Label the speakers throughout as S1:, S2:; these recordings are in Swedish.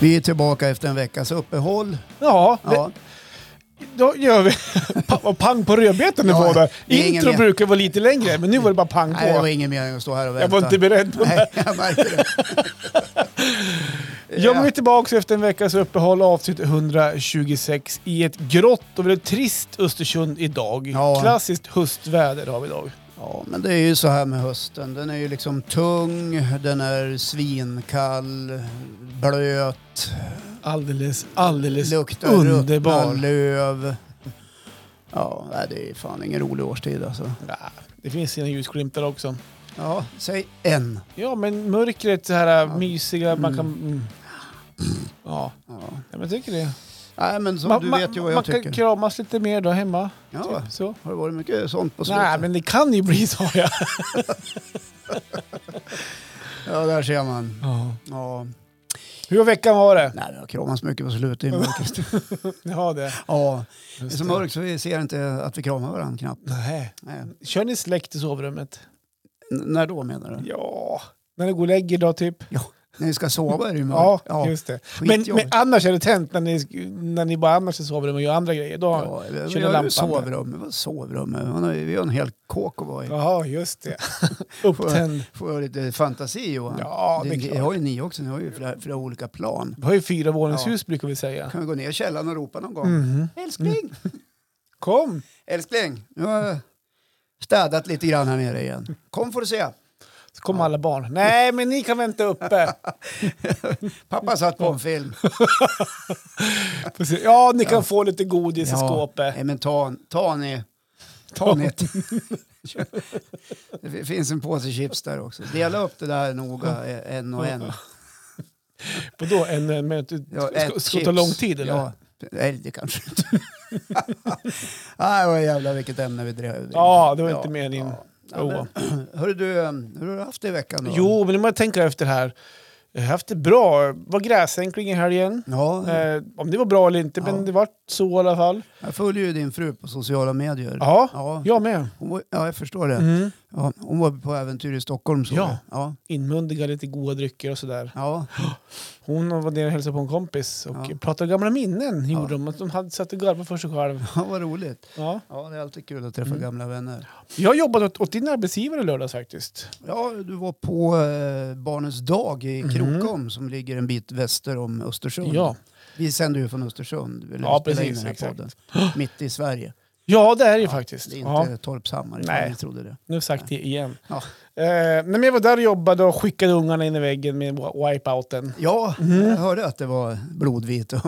S1: Vi är tillbaka efter en veckas uppehåll.
S2: Ja,
S1: Ja,
S2: Det, då gör vi pa- och pang på rödbetan
S1: Ja,
S2: ja, båda.
S1: det är ingen
S2: Intro
S1: mer.
S2: brukar vara lite längre, men nu var det bara pang på.
S1: nej, det var ingen mening att stå här och vänta.
S2: jag var inte beredd på det.
S1: Nej, jag märker det.
S2: Ja, men vi är tillbaka efter en veckas uppehåll, avsnitt 126 i ett grått och väldigt trist Östersund idag.
S1: Ja.
S2: Klassiskt höstväder har vi idag.
S1: Ja, men det är ju så här med hösten. Den är ju liksom tung, den är svinkall, blöt,
S2: Alldeles, alldeles
S1: luktar ruttna
S2: underbar.
S1: löv. Ja, nej, det är fan ingen rolig årstid alltså.
S2: Ja, det finns sina ljusglimtar också.
S1: Ja, säg en.
S2: Ja, men mörkret, så här mysiga, man kan... Mm. Ja,
S1: Ja.
S2: ja, men jag tycker det.
S1: Nej, men som
S2: Man-
S1: du
S2: man-
S1: vet ju vad
S2: man
S1: jag tycker.
S2: kan kramas lite mer då hemma.
S1: Ja,
S2: Typ så.
S1: har det varit mycket sånt på slutet?
S2: Nej, men det kan ju bli så. Ja.
S1: Ja, där ser man. Ja,
S2: Hur har veckan var det?
S1: nej, det har kramats mycket på slutet. i mörkret.
S2: Ja, det.
S1: Ja, det är
S2: Just
S1: så
S2: det.
S1: mörkt så vi ser inte att vi kramar varandra knappt.
S2: Nej.
S1: Nej. N-
S2: Kör ni släkt i sovrummet?
S1: när då menar du?
S2: Ja, när du går och lägger då typ?
S1: När vi ska sova är det ju
S2: Ja,
S1: mörkt.
S2: just det. Men,
S1: skitjobbigt.
S2: men annars är det tänt när ni, när ni bara annars i sovrummet och gör andra grejer. Då,
S1: Ja, vi har
S2: kör
S1: ju
S2: ni lampan
S1: sovrum. Vad sovrum? Man har ju- Vi har en hel kåk att vara i.
S2: Jaha, just det. Upptänd.
S1: Får jag lite fantasi Johan?
S2: Ja, det är
S1: det,
S2: klart.
S1: det har ju ni också. Ni har ju flera, flera olika plan.
S2: Vi har ju fyra våningshus brukar vi säga.
S1: Kan vi gå ner i källaren och ropa någon gång?
S2: Mhm.
S1: Älskling!
S2: Kom!
S1: Älskling! Nu har jag städat lite grann här nere igen. Kom får du se.
S2: Så kommer alla barn. Nej, men ni kan vänta uppe.
S1: Pappa satt på en film.
S2: Precis. Ja, ni kan få lite godis i skåpet.
S1: nej, men ta, ta ni. Ta ni. Det finns en påse chips där också. Dela upp det där noga eh, en och en.
S2: Vadå, en, en, en, ska, ska,
S1: ett
S2: ska det ta
S1: chips.
S2: lång tid eller?
S1: Ja. Nej, det kanske inte. Nej, vad jävlar vilket ämne vi drev.
S2: Ja, det var inte meningen. Jo.
S1: Ja, men, hörru du, eh, hur har du haft det i veckan då?
S2: Jo, men om jag tänker efter här. Jag har haft det bra. var gräsänkling i helgen.
S1: Ja,
S2: Eh, om det var bra eller inte,
S1: Mm. Ja.
S2: men det var så i alla fall.
S1: jag följer ju din fru på sociala medier.
S2: Ja,
S1: Ja.
S2: jag med.
S1: Hon var, ja, jag förstår det.
S2: Mm.
S1: Ja, hon var på äventyr i Stockholm såg
S2: Ja.
S1: jag. Ja.
S2: Inmundiga lite goda drycker och sådär.
S1: Ja.
S2: Hon var nere och hälsade på en kompis och
S1: Ja.
S2: pratade gamla minnen. Gjorde de, att de hade satt och garvat för sig själv.
S1: ja, vad roligt.
S2: Ja.
S1: Ja, det är alltid kul att träffa
S2: Mm.
S1: gamla vänner.
S2: Jag jobbade åt, åt din arbetsgivare i lördags faktiskt.
S1: Ja, du var på eh, Barnens dag i Krokom som ligger en bit väster om Östersund.
S2: Mhm. Ja.
S1: Vi sänder ju från Östersund. Eller
S2: Ja,
S1: vi spelar in
S2: precis,
S1: den här
S2: exakt.
S1: podden. Mitt i Sverige.
S2: ja, det är det ju
S1: Det
S2: faktiskt.
S1: är
S2: Ja.
S1: inte Torpshammar ifall
S2: Nej.
S1: ni trodde det.
S2: Nu har jag sagt det igen.
S1: Ja.
S2: Eh, nej, men jag var där och jobbade och skickade ungarna in i väggen med wi- wipeouten.
S1: Ja,
S2: Mhm.
S1: jag hörde att det var blodvit och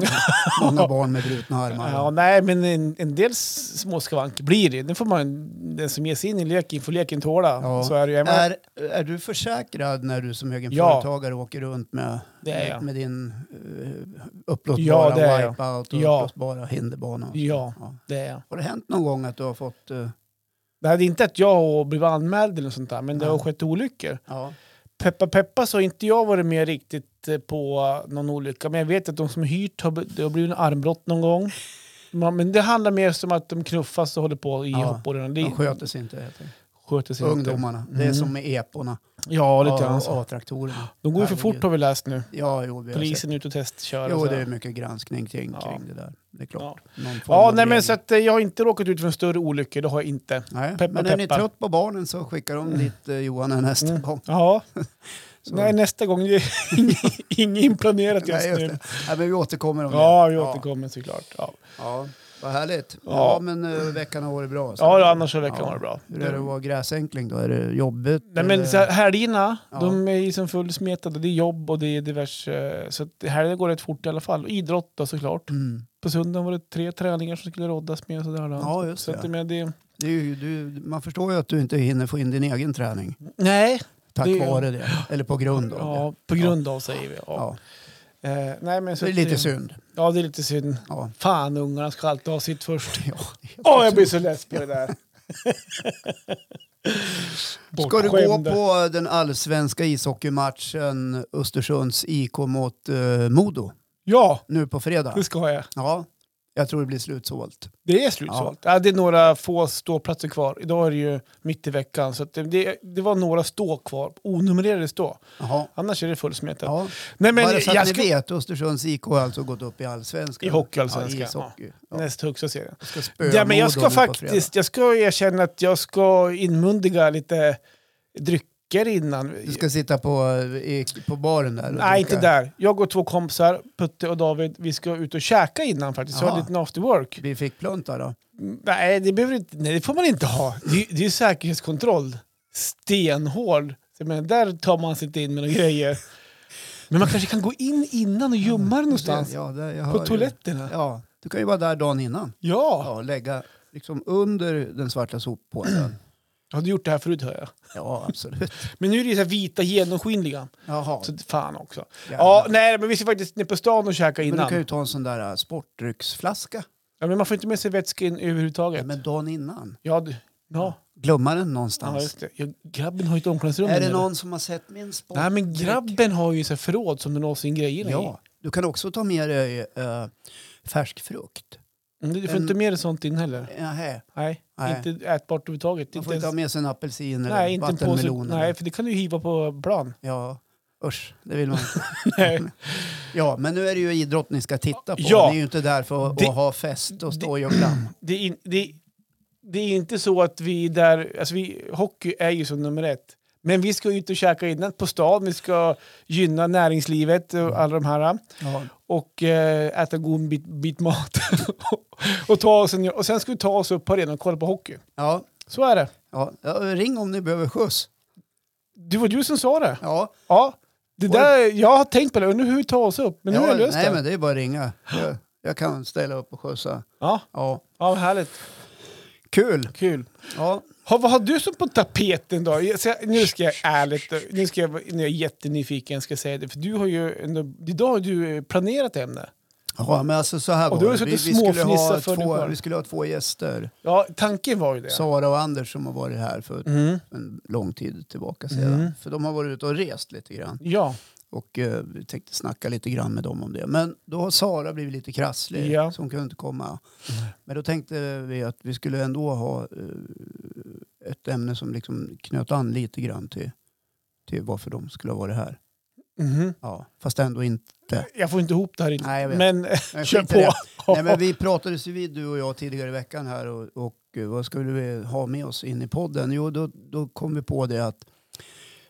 S1: många barn med brutna armar.
S2: Ja, nej, men en, en del s- småskavank blir det. Det får man, den som ger sig in i leken får leken tåla.
S1: Ja.
S2: Så är det ju. Men-
S1: Är, är du försäkrad när du som egen
S2: Ja.
S1: företagare åker runt med,
S2: Det är jag.
S1: med din uh, upplåtbara
S2: Ja, det är jag.
S1: wipeout och
S2: Ja.
S1: upplåtbara hinderbana? och så?
S2: Ja. det är jag.
S1: Har det hänt någon gång att du har fått... eh,
S2: Det hade inte att jag blev anmäld eller något sånt där, men det har
S1: Nej.
S2: skett olyckor.
S1: ja.
S2: Peppa peppa så har inte jag varit med riktigt eh, på någon olycka, men jag vet att de som hyrt har, be- det har blivit en armbrott någon gång. Man- Men det handlar mer som att de knuffas och håller på i
S1: Ja,
S2: hoppborgarna. Det
S1: De sköter sig inte. Heter. det.
S2: sköter sig inte.
S1: Ungdomarna. Det är som med eporna
S2: Ja, lite grann
S1: och
S2: så.
S1: A-traktorerna.
S2: De går ju för fort
S1: Herregud.
S2: har vi läst nu.
S1: Ja, jo, vi har
S2: Polisen är ute och testkör.
S1: sett.
S2: och
S1: Jo,
S2: sådär.
S1: det är mycket granskning kring,
S2: Ja.
S1: kring det där. Det är klart. Någon form
S2: Ja,
S1: av
S2: nej, men
S1: regel.
S2: så att, eh, jag har inte råkat ut för en större olycka, det har jag inte.
S1: Nej.
S2: peppa,
S1: Men är ni
S2: peppa.
S1: trött på barnen så skickar de dit eh, Johan här nästa gång.
S2: Ja.
S1: Så.
S2: Mm. Nej, nästa gång. det är ing- Inget inplanerat just
S1: Nej, just
S2: nu.
S1: det. Nej, men vi återkommer om
S2: Ja,
S1: det.
S2: vi återkommer såklart. Ja,
S1: Ja, vad härligt. Ja,
S2: Ja.
S1: men eh, veckan har varit bra. så.
S2: ja då, annars har veckan
S1: Ja.
S2: varit bra.
S1: Hur är det att vara gräsänkling då? Är det jobbigt?
S2: Nej, men
S1: eller?
S2: så här, helgerna,
S1: Ja.
S2: de är ju som fullsmetade. Det är jobb och det är diverse. eh, Så att helgerna går rätt fort i alla fall. Och idrott då såklart.
S1: Mm.
S2: På söndagen var det tre träningar som skulle roddas med. Och sådär, då.
S1: Ja, just
S2: så att,
S1: det.
S2: men det.
S1: Det är ju, du, man förstår ju att du inte hinner få in din egen träning.
S2: Nej,
S1: Tack
S2: Det-
S1: vare det. Eller på grund av det.
S2: ja, på grund av säger vi. Ja.
S1: Ja.
S2: Eh, nej, men,
S1: Så det är
S2: att
S1: lite synd.
S2: Ja, det är lite synd.
S1: Ja.
S2: Fan, ungarna ska alltid ha sitt först.
S1: Ja.
S2: Åh, jag blir så less på det där.
S1: Ska du gå
S2: Bortskämda.
S1: på den allsvenska ishockeymatchen Östersunds IK mot eh, Modo
S2: Ja,
S1: nu på fredag?
S2: det ska jag.
S1: Ja. Jag tror det blir slutsålt.
S2: Det är slutsålt. Ja. det är några få ståplatser kvar. Idag är det ju mitt i veckan, så att det, det, det var några stå kvar. Onumrerade stå.
S1: Jaha.
S2: Annars är det fullsmetat.
S1: Ja.
S2: Nej, men
S1: Bara så att
S2: jag
S1: ni
S2: ska-
S1: vet, Östersunds IK har alltså gått upp i allsvenskan.
S2: I hockeyallsvenskan,
S1: Ja, i ishockey. Ja.
S2: Näst högsta serien.
S1: Ska spöa
S2: Ja, men jag
S1: Modo
S2: ska
S1: nu på fredag.
S2: faktiskt jag ska erkänna att jag ska inmundiga lite drycker innan.
S1: Du ska sitta på, eh, i, på baren där? och
S2: Nej,
S1: dricka.
S2: inte där. Jag och två kompisar, Putte och David, vi ska ut och käka innan faktiskt. Så
S1: Jaha.
S2: har en liten after work.
S1: Vi fick plunta då?
S2: Mm, Nej, det, behöver inte, nej, det får man inte ha. Det, är- det är ju säkerhetskontroll. Stenhård. Så jag menar, där tar man sig inte in med några grejer. Men man kanske kan gå in innan och gömma det någonstans.
S1: Ja, där, jag hör
S2: På
S1: ju.
S2: toaletterna.
S1: Ja, du kan ju vara där dagen innan.
S2: Ja.
S1: Ja, lägga liksom under den svarta soppåsen.
S2: Har du gjort det här förut hör jag.
S1: Ja, absolut.
S2: Men nu är det så här vita genomskinliga.
S1: Jaha.
S2: Så fan också.
S1: jävlar.
S2: Ja, nej, men vi ska faktiskt ner på stan och käka
S1: men du
S2: innan.
S1: kan ju ta en sån där äh, sportdrycksflaska.
S2: Ja, men man får inte med sig vätska in överhuvudtaget.
S1: Ja, men dagen innan.
S2: Ja, du, ja.
S1: Glömma den
S2: ja
S1: någonstans.
S2: just det. Ja, grabben har ju ett omklädningsrum.
S1: är
S2: där
S1: det
S2: nere.
S1: någon som har sett min sport?
S2: Nej, men grabben har ju så här förråd som den har sin grejerna
S1: Ja, du kan också ta med dig äh, färsk frukt.
S2: i. Mm, Du får
S1: En-
S2: inte med dig sånt in heller.
S1: Nähä,
S2: Nej,
S1: Nej.
S2: inte ätbart överhuvudtaget.
S1: man
S2: Inte
S1: får inte ha
S2: ens,
S1: med sig en apelsin eller
S2: nej, inte en påse.
S1: vattenmelon. eller-
S2: Nej, för det kan du ju hiva på plan.
S1: Ja, usch, det vill man inte.
S2: Nej.
S1: Ja, men nu är det ju idrott ni ska titta på.
S2: Ja.
S1: Ni är ju inte där för att,
S2: Det-
S1: att ha fest och stå och göra
S2: det, är in, det, det är inte så att vi där, alltså vi, hockey är ju som nummer ett. Men vi ska ut och käka innan på stan, vi ska gynna näringslivet
S1: Mm.
S2: och alla de här.
S1: ja.
S2: Och eh, äta god bit, bit mat. och, ta oss en, och sen ska vi ta oss upp på arenan och kolla på hockey.
S1: Ja,
S2: Så är det.
S1: ja, ja, ring om ni behöver skjuts.
S2: Det var du som sa det.
S1: Ja,
S2: Ja, det
S1: Var
S2: där, jag har tänkt på det, undrar hur vi tar oss upp. Men nu
S1: ja,
S2: har jag löst
S1: nej,
S2: det.
S1: men det är bara att ringa. Jag, jag kan ställa upp och skjutsa.
S2: Ja,
S1: Ja.
S2: ja, vad härligt.
S1: Kul!
S2: Kul.
S1: Ja.
S2: Ha, vad har du som på tapeten då? Jag ska, nu ska jag ärligt, nu, ska jag, nu är jag jättenyfiken ska jag säga det, för du har ju ändå, idag har du eh, planerat ämne.
S1: ja, men alltså så här
S2: Och du har
S1: var det.
S2: ju
S1: Vi,
S2: suttit
S1: vi, skulle
S2: småfnissa
S1: ha
S2: för
S1: två,
S2: dig.
S1: vi skulle ha två gäster.
S2: Ja, tanken var ju det.
S1: Sara och Anders som har varit här för
S2: Mm.
S1: en lång tid tillbaka sedan.
S2: Mm.
S1: För de har varit ute och rest lite grann.
S2: Ja,
S1: Och eh, vi tänkte snacka lite grann med dem om det. Men då har Sara blivit lite krasslig
S2: Ja. Mm.
S1: så hon kunde inte komma. Men då tänkte vi att vi skulle ändå ha eh, ett ämne som liksom knöt an lite grann till, till varför de skulle ha varit här.
S2: Mhm.
S1: Ja, fast ändå inte.
S2: jag får inte ihop det här riktigt.
S1: Nej, jag vet.
S2: Men eh,
S1: Men
S2: kör
S1: skit i det.
S2: på.
S1: Nej, men vi pratades ju vid du och jag tidigare i veckan här och, och eh, vad skulle vi ha med oss in i podden? Jo, då, då kom vi på det att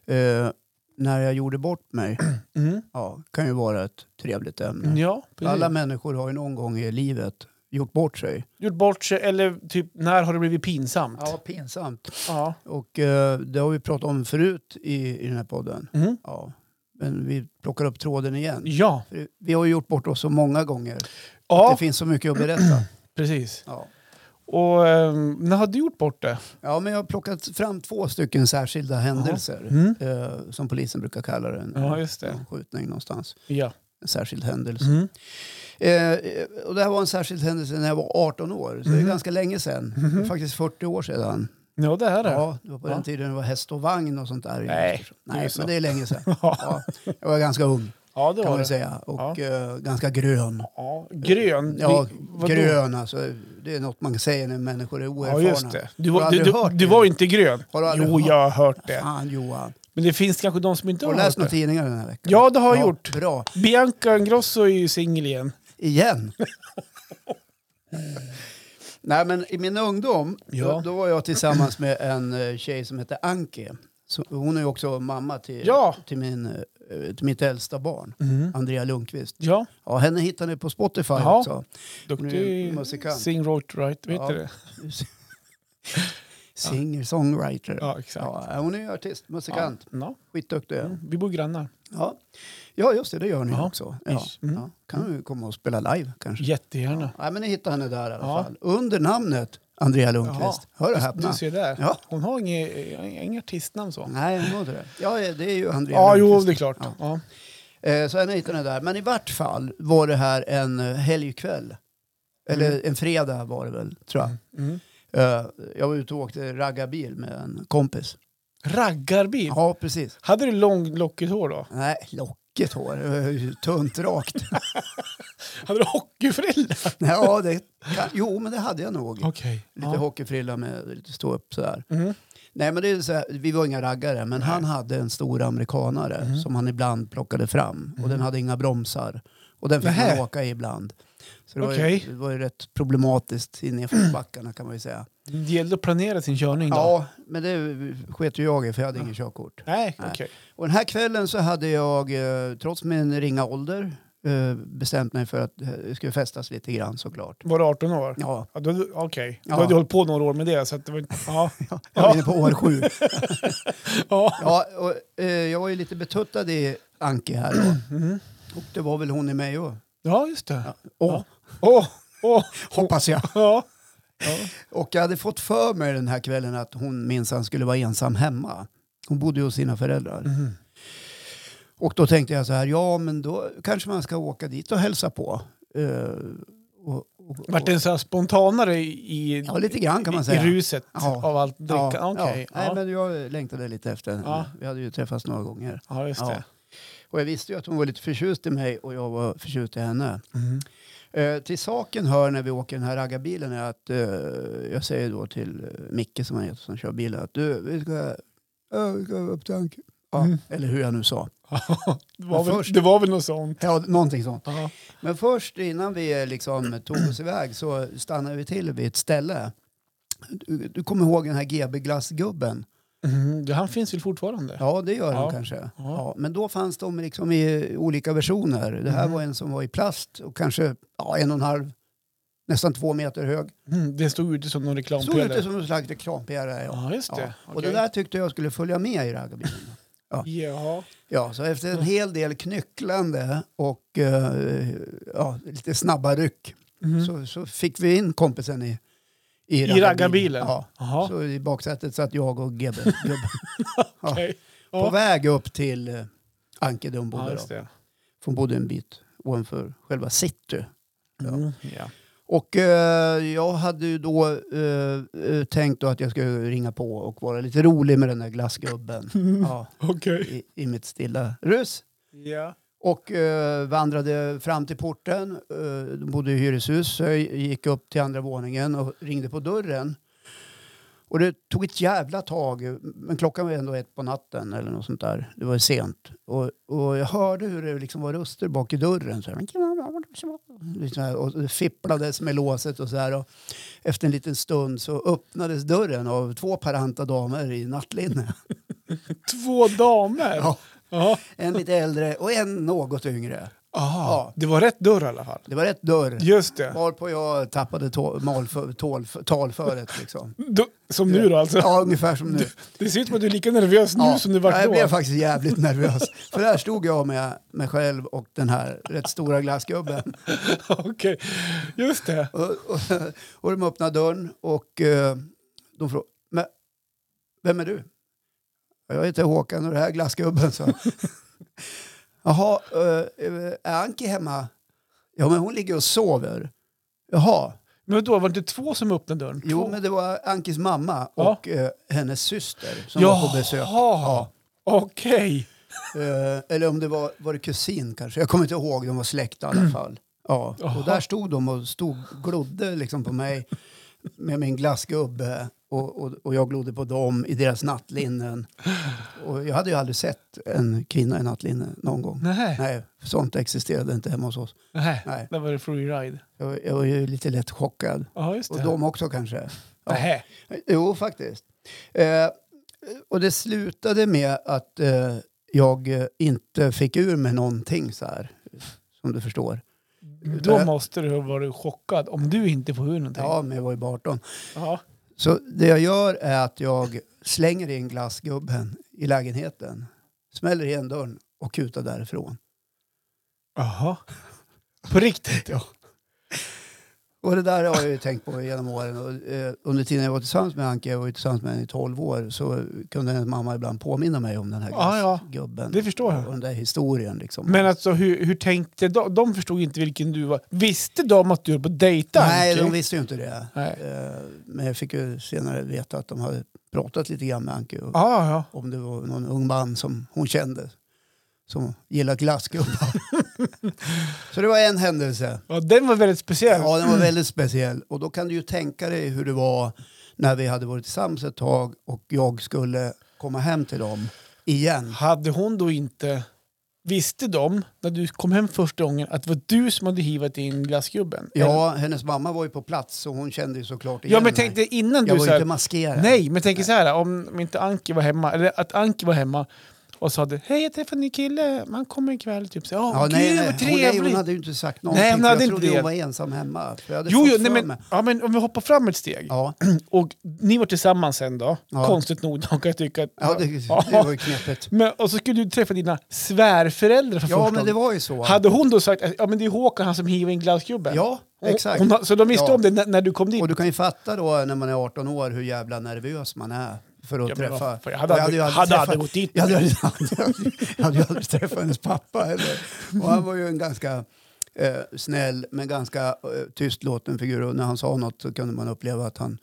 S1: eh, när jag gjorde bort mig,
S2: Mm.
S1: ja, kan ju vara ett trevligt ämne.
S2: Ja, precis.
S1: Mm. Alla människor har ju någon gång i livet gjort bort sig.
S2: Gjort bort sig, eller typ när har det blivit pinsamt?
S1: Ja, pinsamt.
S2: Ja.
S1: Och eh, det har vi pratat om förut i, i den här podden.
S2: Mhm.
S1: Ja. Men vi plockar upp tråden igen.
S2: Ja,
S1: För Vi har ju gjort bort oss så många gånger. Det
S2: ja
S1: finns så mycket att berätta.
S2: precis.
S1: Ja.
S2: Och ehm, när har du gjort bort det?
S1: ja, men jag har plockat fram två stycken särskilda händelser.
S2: Mm.
S1: Eh, som polisen brukar kalla det. En,
S2: Ja, just det.
S1: en skjutning någonstans.
S2: Ja.
S1: En särskild händelse.
S2: Mm.
S1: Eh, eh, och det här var en särskild händelse när jag var 18 år. Så det är
S2: Mhm.
S1: ganska länge sedan. Det är faktiskt 40 år sedan.
S2: Ja, det här är det.
S1: Ja, det var på
S2: Ja.
S1: den tiden det var häst och vagn och sånt där. i
S2: Nej,
S1: Östersund.
S2: det är
S1: Nej
S2: så.
S1: men det är länge sedan. Ja,
S2: Ja,
S1: jag var ganska ung
S2: ja det
S1: kan man
S2: var
S1: ju
S2: det.
S1: säga och eh, ganska grön.
S2: Ja, grön.
S1: Ja,
S2: Mm, Vi- vadå?
S1: grön alltså. Det är något man säger när människor är
S2: Ja,
S1: oerfarna.
S2: just det. Du,
S1: Har
S2: var-
S1: du
S2: du, du,
S1: aldrig hört
S2: du
S1: det?
S2: var ju inte grön.
S1: Har du aldrig
S2: Jo,
S1: hört?
S2: jag har hört det.
S1: Fan Johan.
S2: Men det finns kanske de som inte
S1: Har
S2: har
S1: du läst
S2: hört
S1: några
S2: det.
S1: tidningar den här veckan?
S2: Ja, det har jag gjort.
S1: Bra.
S2: Bianca Ingrosso är ju singel igen.
S1: Igen. Nej men i min ungdom
S2: Ja.
S1: då, då var jag tillsammans med en eh, tjej som hette Anke. Så, hon är ju också mamma till,
S2: Ja. Mm.
S1: till, min, eh, till mitt äldsta barn. Andrea Lundqvist.
S2: Ja,
S1: Ja, henne hittar ni på Spotify
S2: Jaha.
S1: också. Hon är ju
S2: duktig
S1: musikant.
S2: sing right, right. Vet
S1: Ja.
S2: du det?
S1: Singer, songwriter. Ja. eh,
S2: Ja, exakt.
S1: hon är ju artist, musikant.
S2: Ja.
S1: Skitduktig.
S2: Mm. Vi bor grannar.
S1: Ja. ja, just det, det gör ni
S2: Ja.
S1: också. Ja.
S2: Mm.
S1: Ja. Kan du komma och spela live kanske?
S2: Jättegärna.
S1: Ja, men ni hittar henne där i alla
S2: Ja.
S1: fall. Under namnet Andrea Lundqvist. Hör och häpna.
S2: Du ser där.
S1: Ja.
S2: Hon har inget, eh, inget artistnamn så.
S1: Nej, hon har inte det. Ja, det är ju Andrea
S2: Ja, jo,
S1: Lundqvist.
S2: det är klart.
S1: Ja.
S2: Ja.
S1: Eh, Så henne hittade henne där. Men i vart fall var det här en eh, helgkväll. Eller en fredag var det väl, tror jag.
S2: Mm.
S1: Eh, Jag var ute och åkte raggarbil med en kompis.
S2: Raggarbil.
S1: Ja, precis.
S2: Hade du långlockigt hår då?
S1: Nej, lockigt hår. Eh, Tunt rakt.
S2: Hade du hockeyfrilla?
S1: Ja, det kan, jo, men det hade jag nog.
S2: Okej.
S1: Lite
S2: Ja.
S1: hockeyfrilla med lite stå upp sådär.
S2: Mm.
S1: Nej, men det är så här, vi var inga raggare, men han hade en stor amerikanare
S2: Mhm.
S1: som han ibland plockade fram. Och den hade inga bromsar. Och den fick
S2: Nähä.
S1: man åka i ibland. Så det, var ju,
S2: Okej.
S1: det var ju rätt problematiskt i nedförsbackarna kan man ju säga.
S2: Det gällde att planera sin körning då?
S1: Ja, men det sket ju jag i för jag hade inget körkort.
S2: Nej,
S1: Nej.
S2: okej.
S1: Och den här kvällen så hade jag, eh, trots min ringa ålder, eh, bestämt mig för att eh, det skulle festas lite grann såklart.
S2: Var du 18 år?
S1: Ja,
S2: Ja, då- Okej, då
S1: Ja.
S2: hade du hållit på några år med det. Så att det var, ja.
S1: jag var inne på år sju.
S2: ja.
S1: Ja, och, eh, jag var ju lite betuttad i Anke här då. Och det var väl hon i mig också.
S2: ja, just det.
S1: Åh,
S2: Ja. Åh, åh,
S1: hoppas jag.
S2: ja. ja.
S1: Och jag hade fått för mig den här kvällen att hon minsann skulle vara ensam hemma. Hon bodde ju hos sina föräldrar.
S2: Mhm.
S1: Och då tänkte jag så här, ja men då kanske man ska åka dit och hälsa på. Eh, och, och, och,
S2: Vart det en sån här spontanare i,
S1: ja, lite grann kan man
S2: i
S1: säga.
S2: ruset
S1: Ja.
S2: av allt dricka? Ja. Okej.
S1: ja. Nej,
S2: Ja.
S1: men jag längtade lite efter henne.
S2: Ja.
S1: Vi hade ju träffats några gånger.
S2: ja, just det.
S1: Och jag visste ju att hon var lite förtjust i mig och jag var förtjust i henne.
S2: Mhm.
S1: Eh, till saken hör när vi åker den här raggarbilen är att eh, jag säger då till eh, Micke som han heter som kör bilen att du, vi ska, ja, vi ska upp till Anke. Ja,
S2: Mm.
S1: Eller hur jag nu sa.
S2: det, var
S1: Men
S2: väl,
S1: först-
S2: det var väl något sånt.
S1: Ja, någonting sånt.
S2: Ja.
S1: Men först innan vi eh, liksom tog oss iväg så stannade vi till vid ett ställe. Du, du kommer ihåg den här GB glassgubben?
S2: Mhm, Han finns väl fortfarande?
S1: Ja, det gör
S2: Ja.
S1: den kanske. Ja. men då fanns de liksom i olika versioner. Det
S2: Mhm.
S1: här var en som var i plast och kanske ja, en och en halv, nästan två meter hög.
S2: Mm, det stod ute som någon
S1: Såg
S2: reklampelare.
S1: ut som en slags reklampelare. Ja.
S2: Ja, just
S1: Ja.
S2: det.
S1: Och det
S2: Okej.
S1: där tyckte jag skulle följa med i raggarbilen.
S2: Jaha.
S1: Ja, så efter en hel del knycklande och eh, ja, lite snabba ryck
S2: Mhm.
S1: så, så fick vi in kompisen i,
S2: I raggarbilen?
S1: Ja.
S2: Jaha.
S1: Så i baksätet satt jag och GB. ja.
S2: Okej.
S1: På
S2: Ja.
S1: väg upp till eh, Ankedum bodde
S2: Ja,
S1: då.
S2: just det.
S1: För hon bodde en bit ovanför själva city. Ja.
S2: Mm. Ja.
S1: Och eh, jag hade ju då eh, eh, tänkt då att jag skulle ringa på och vara lite rolig med den där glassgubben. Ja,
S2: Okej.
S1: i, I mitt stilla rus.
S2: Ja.
S1: Och eh, vandrade fram till porten. Eh, de bodde i hyreshus. Så jag gick upp till andra våningen och ringde på dörren. Och det tog ett jävla tag. Men klockan var ändå ett på natten eller något sånt där. Det var sent. Och, och jag hörde hur det liksom var röster bak i dörren. Så här, liksom här, och det fipplades med låset och så här. Och efter en liten stund så öppnades dörren av två paranta damer i nattlinne.
S2: Två damer?
S1: Ja.
S2: Ja.
S1: En lite äldre och en något yngre.
S2: Aha.
S1: Ja.
S2: Det var rätt dörr i alla fall.
S1: Det var rätt dörr.
S2: Just det.
S1: Varpå jag tappade tå- malfö- tålf- talföret. Liksom.
S2: Du, som nu då alltså.
S1: Ja, ungefär som nu.
S2: Det ser ut som att du är lika nervös nu
S1: Ja.
S2: som du
S1: Ja,
S2: var
S1: jag
S2: då.
S1: blev faktiskt jävligt nervös. För där stod jag med mig själv och den här rätt stora glassgubben.
S2: Okej, just det.
S1: Och, och, och de öppnade dörren och eh, de frågade Men, Vem är du? Jag heter Håkan och det här är glassgubben. Så. Jaha, eh, är Anki hemma? Ja, men hon ligger och sover. Jaha.
S2: Men då var det inte två som öppnade dörren?
S1: Jo,
S2: Två?
S1: men det var Ankis mamma
S2: Ja.
S1: och eh, hennes syster som var på besök.
S2: Jaha, okej.
S1: Eh, eller om det var, var det kusin kanske. Jag kommer inte ihåg, de var släkt i alla fall. Ja.
S2: Mm. Jaha.
S1: Och där stod de och stod, glodde liksom på mig med min glassgubbe. Och, och, och jag glodde på dem i deras nattlinnen. Och jag hade ju aldrig sett en kvinna i nattlinne någon gång.
S2: Nej.
S1: Nej, sånt existerade inte hemma hos oss.
S2: Nej.
S1: Nej.
S2: Där var det freeride.
S1: Jag, var- jag var ju lite lätt chockad.
S2: Ja, just det.
S1: Och de också kanske. Ja.
S2: Nähä.
S1: Jo, faktiskt. Eh, och det slutade med att eh, jag eh, inte fick ur mig någonting så här, som du förstår.
S2: Då måste du ha varit chockad om du inte får ur någonting.
S1: Äh. Ja, men jag var ju bara 18.
S2: Ja.
S1: Så det jag gör är att jag slänger in glassgubben i lägenheten, smäller igen dörren och kutar därifrån.
S2: Jaha. På riktigt? Ja.
S1: Och det där har jag ju tänkt på genom åren. Och, eh, under tiden jag var tillsammans med Anke, jag var ju tillsammans med henne i 12 år, så kunde hennes mamma ibland påminna mig om den här
S2: Ja, ja.
S1: glassgubben.
S2: Det förstår jag.
S1: Och den där historien liksom.
S2: Men alltså hur, hur tänkte de? De förstod inte vilken du var. Visste de att du var på dejta?
S1: Nej,
S2: Anki?
S1: de visste ju inte det.
S2: Nej.
S1: Eh, Men jag fick ju senare veta att de hade pratat lite grann med Anki. och-
S2: Ja, ja.
S1: Om det var någon ung man som hon kände som gillade glassgubbar. Så det var en händelse.
S2: Ja, den var väldigt speciell.
S1: Ja, den var väldigt speciell. Och då kan du ju tänka dig hur det var när vi hade varit tillsammans ett tag och jag skulle komma hem till dem igen.
S2: Hade hon då inte... Visste de, när du kom hem första gången, att det var du som hade hivat in glassgubben? Eller-
S1: Ja, hennes mamma var ju på plats och hon kände ju såklart igen
S2: ja men
S1: mig.
S2: tänk dig innan
S1: Jag
S2: du...
S1: var
S2: Så
S1: ju inte
S2: här,
S1: maskerad.
S2: nej, men tänk så här, om, om inte Anki var hemma, eller att Anki var hemma och sa det, hej jag träffade en ny kille, man kommer ikväll, typ så här, åh
S1: Ja,
S2: gud
S1: nej, nej.
S2: vad
S1: Hon, nej,
S2: trevligt.
S1: hon hade ju inte sagt någonting.
S2: Nej, hon
S1: för
S2: hade
S1: jag
S2: inte
S1: trodde
S2: det.
S1: hon var ensam hemma. För jag hade
S2: Jo,
S1: fått
S2: jo
S1: för
S2: nej, men,
S1: mig.
S2: ja, men om vi hoppar fram ett steg.
S1: Ja,
S2: Och ni var tillsammans sen då,
S1: Ja.
S2: konstigt nog, då kan jag tycka. Att,
S1: ja det,
S2: Ja.
S1: det var ju knepigt.
S2: Men, och så skulle du träffa dina svärföräldrar för
S1: Ja,
S2: första
S1: men det
S2: gången.
S1: var ju så.
S2: Hade hon då sagt att ja, men det är Håkan han som hivar in glassgubben?
S1: Ja,
S2: Hon-
S1: exakt.
S2: hon har- så de visste
S1: Ja.
S2: om det när, när du kom dit?
S1: Och du kan ju fatta då när man är 18 år hur jävla nervös man är för att
S2: Ja, men vad
S1: träffa...
S2: fan, jag hade
S1: Och
S2: aldrig-
S1: ju
S2: hade
S1: träffat-
S2: aldrig gått dit.
S1: Jag hade, aldrig- jag hade, jag hade ju aldrig träffat hennes pappa heller. Och han var ju en ganska eh, snäll men ganska eh, tystlåten figur. Och när han sa något så kunde man uppleva att han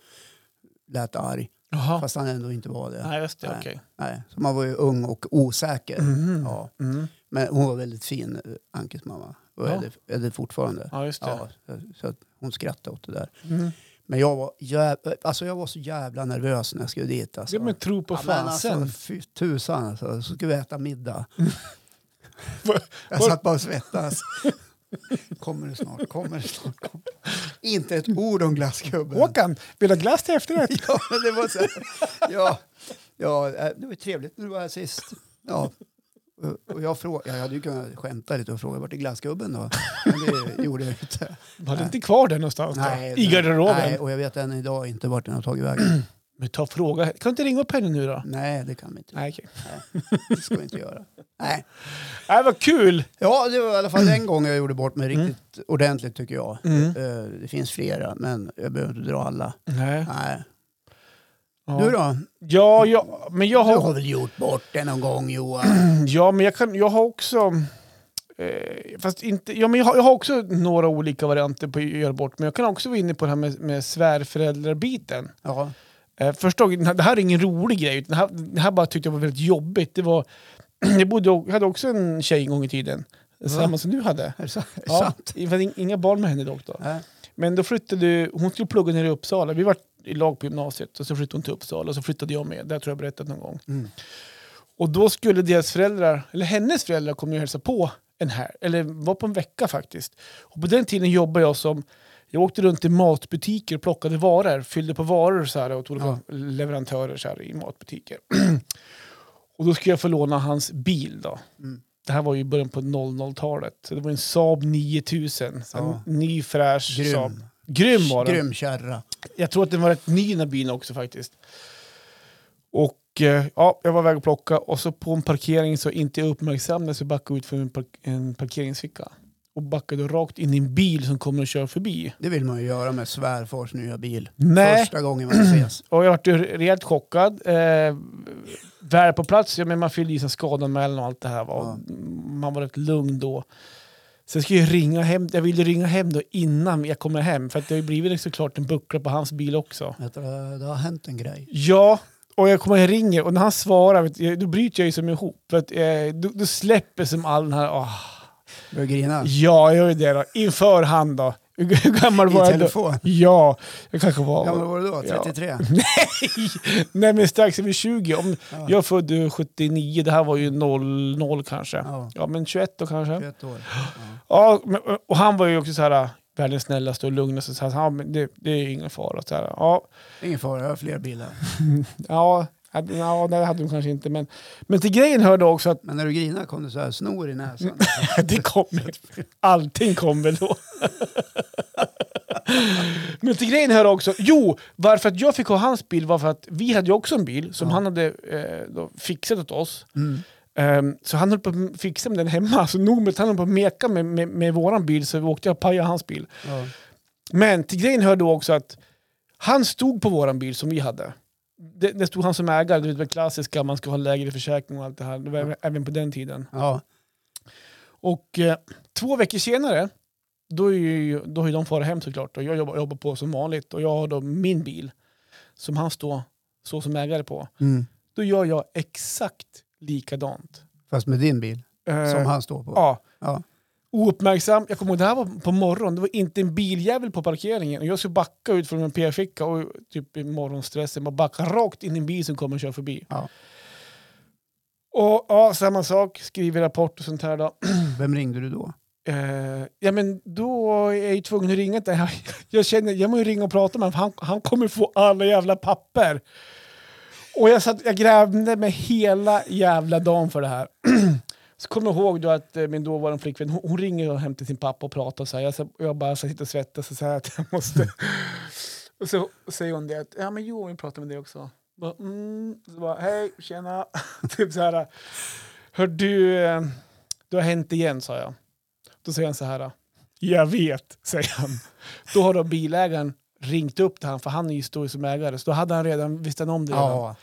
S1: lät arg.
S2: Jaha.
S1: Fast han ändå inte var det.
S2: Nej, just det.
S1: Nej.
S2: Okej.
S1: Nej. Så man var ju ung och osäker.
S2: Mhm.
S1: Ja.
S2: Mm.
S1: Men hon var väldigt fin, eh, Ankes mamma. Och
S2: Ja.
S1: är, det, är det fortfarande.
S2: Ja, just det.
S1: Ja, så- så att hon skrattade åt det där.
S2: Mm.
S1: Men jag var, jäv... alltså jag var så jävla nervös när jag skulle dit. Alltså.
S2: Det är med tro på
S1: Ja, men
S2: fansen.
S1: Alltså, fy tusan alltså. Så skulle vi äta middag.
S2: Var-
S1: Jag satt bara och svettades. kommer det snart, kommer det snart. Kommer. det? Inte ett ord om glassgubben.
S2: Håkan, vill du ha glass till efterrätt?
S1: Ja, men det var så här. Ja, ja, eh, det var ju trevligt när du var här sist. Ja. Och- Och jag, frågade, jag hade ju kunnat skämta lite och fråga vart är glassgubben då? Men det gjorde jag inte.
S2: Du hade inte kvar den någonstans då? I
S1: nej.
S2: garderoben?
S1: Nej, och jag vet än idag inte vart den har tagit vägen.
S2: Men ta och fråga. Kan du inte ringa upp henne nu då?
S1: Nej, det kan vi inte.
S2: Nej, okej.
S1: Det ska vi inte göra. Nej.
S2: Nej, vad kul!
S1: Ja, det var i alla fall en gång jag gjorde bort mig riktigt ordentligt tycker jag.
S2: Mm.
S1: Eh, Det finns flera, men jag behöver inte dra alla.
S2: Nej.
S1: Nej.
S2: Ja.
S1: Du då?
S2: Ja, jag, men jag
S1: Du
S2: har,
S1: har väl gjort bort det någon gång Johan?
S2: ja, men jag, kan, jag har också... Eh, fast inte, ja, men jag, har, jag har också några olika varianter på att göra bort men jag kan också vara inne på det här med, med svärföräldrarbiten.
S1: Ja.
S2: Eh, första gången, det här är ingen rolig grej, utan det här, det här bara tyckte jag var väldigt jobbigt. Det var, jag, bodde, jag hade också en tjej en gång i tiden, samma som du hade.
S1: Är det sant?
S2: Ja, det fanns in- inga barn med henne dock då.
S1: Nej.
S2: Men då flyttade hon skulle plugga nere i Uppsala. Vi var i lag på gymnasiet och så flyttade hon till Uppsala och så flyttade jag med. Det här tror jag berättat någon gång.
S1: Mm.
S2: Och då skulle deras föräldrar, eller hennes föräldrar kom ju och hälsade på en här, eller var på en vecka faktiskt. Och på den tiden jobbade jag som, jag åkte runt i matbutiker och plockade varor, fyllde på varor så här åt olika
S1: Ja.
S2: leverantörer så här i matbutiker. och då skulle jag få låna hans bil då.
S1: Mm.
S2: Det här var ju i början på 00-talet. Så det var en Saab 9000. Så en
S1: Ja.
S2: Ny fräsch Saab.
S1: Grym.
S2: Grym var den.
S1: Grym kärra.
S2: Jag tror att den var rätt ny den här bilen också faktiskt. Och eh, ja, jag var väg och plocka och så på en parkering så inte jag uppmärksammade så backade jag ut från en, park- en parkeringsficka. Och backade rakt in i en bil som kommer och kör förbi.
S1: Det vill man ju göra med svärfars nya bil.
S2: Nej.
S1: Första gången man ses.
S2: Och jag vart ju rejält chockad. Eh, väl på plats, ja, men man fyllde i sig skadeanmälan och allt det här. Va? Och Man var rätt lugn då. Sen ska jag ringa hem, jag ville ringa hem då innan jag kommer hem. För att det har ju blivit såklart en buckla på hans bil också.
S1: Vet du, eh, Det har hänt en grej.
S2: Ja, och jag kommer och ringer och när han svarar, vet du, då bryter jag ju som ihop. För att, eh, då, då släpper som all den här, ah,
S1: Börjar grina.
S2: ja jag gör ju det då, inför han då. Hur gammal var
S1: I
S2: jag då?
S1: telefon.
S2: Ja, jag kanske
S1: Hur gammal
S2: var...
S1: var du då?
S2: Ja.
S1: 33?
S2: Nej men strax över 20. Om,
S1: Ja.
S2: Jag är född eh, 79, det här var ju 00 kanske. Ja,
S1: Ja.
S2: men 21 då kanske.
S1: 21 år. Ja.
S2: Ja, men, och han var ju också så här världens snällaste och lugnaste. Så här, han, men det, det är ju ingen fara. Så här, ja,
S1: Ingen fara, jag har fler bilar.
S2: ja, hade- ja, det hade de kanske inte. Men, men till grejen hörde också att
S1: Men när du grinade kom det så här snor i näsan.
S2: det kom, ju- allting kom väl då. Men till grejen hör också, jo, varför att jag fick ha hans bil var för att vi hade ju också en bil som
S1: Ja.
S2: han hade eh, då fixat åt oss.
S1: Mm.
S2: Ehm, så han höll på att fixa med den hemma, så nog med att han höll på att meka med, med, med våran bil så åkte jag och pajade hans bil.
S1: Ja.
S2: Men till grejen hör då också att han stod på våran bil som vi hade. Det, det stod han som ägare, du vet det klassiska, man ska ha lägre försäkring och allt det här, det var även- även på den tiden.
S1: Ja.
S2: Och eh, två veckor senare, då är ju, då har ju de farit hem såklart och jag jobbar, jobbar på som vanligt och jag har då min bil som han står så som ägare på.
S1: Mm.
S2: Då gör jag exakt likadant.
S1: Fast med din bil,
S2: Eh,
S1: som han står på.
S2: Ja.
S1: Ja.
S2: ouppmärksam. Jag kommer ihåg, det här var på morgonen. Det var inte en biljävel på parkeringen. Och jag skulle backa ut från min p-ficka och typ i morgonstressen bara backa rakt in i en bil som kommer och kör förbi.
S1: Ja.
S2: Och ja, samma sak. Skriver rapport och sånt här då.
S1: Vem ringde du då?
S2: Eh, ja men då är jag ju tvungen att ringa till Jag känner, jag måste ju ringa och prata med honom för han, han kommer få alla jävla papper. Och jag, satt, jag grävde mig hela jävla dagen för det här. så kommer jag ihåg då att eh, min dåvarande flickvän, hon, hon ringer och hem till sin pappa och pratar så här. Jag, sa- och jag bara så sitter och svettas och så här att jag måste... och så säger hon det att, ja men jo, vi pratar med dig också. Bara, mm. Så bara, hej, tjena. typ så här. Hör du, eh, det har hänt igen sa jag. Då säger han så här. Jag vet, säger han. Då har då bilägaren ringt upp till han, för han är ju stor som ägare. Så då hade han redan, visste han om det redan.
S1: Ja,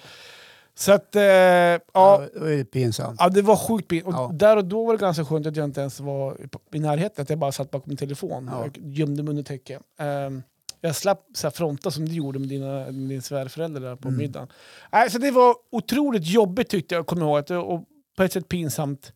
S2: Så att, eh, ja,
S1: ja. det är pinsamt.
S2: ja, det var sjukt pin- och
S1: Ja.
S2: Där och då var det ganska skönt att jag inte ens var i- i närheten, att jag bara satt bakom min telefon
S1: Ja.
S2: och gömde mig under täcket. Ehm, jag slapp så här, fronta som du gjorde med, dina, med din svärförälder där på
S1: Mm.
S2: middagen. Nej, så det var otroligt jobbigt tyckte jag, kommer jag ihåg, att det- och på ett sätt pinsamt.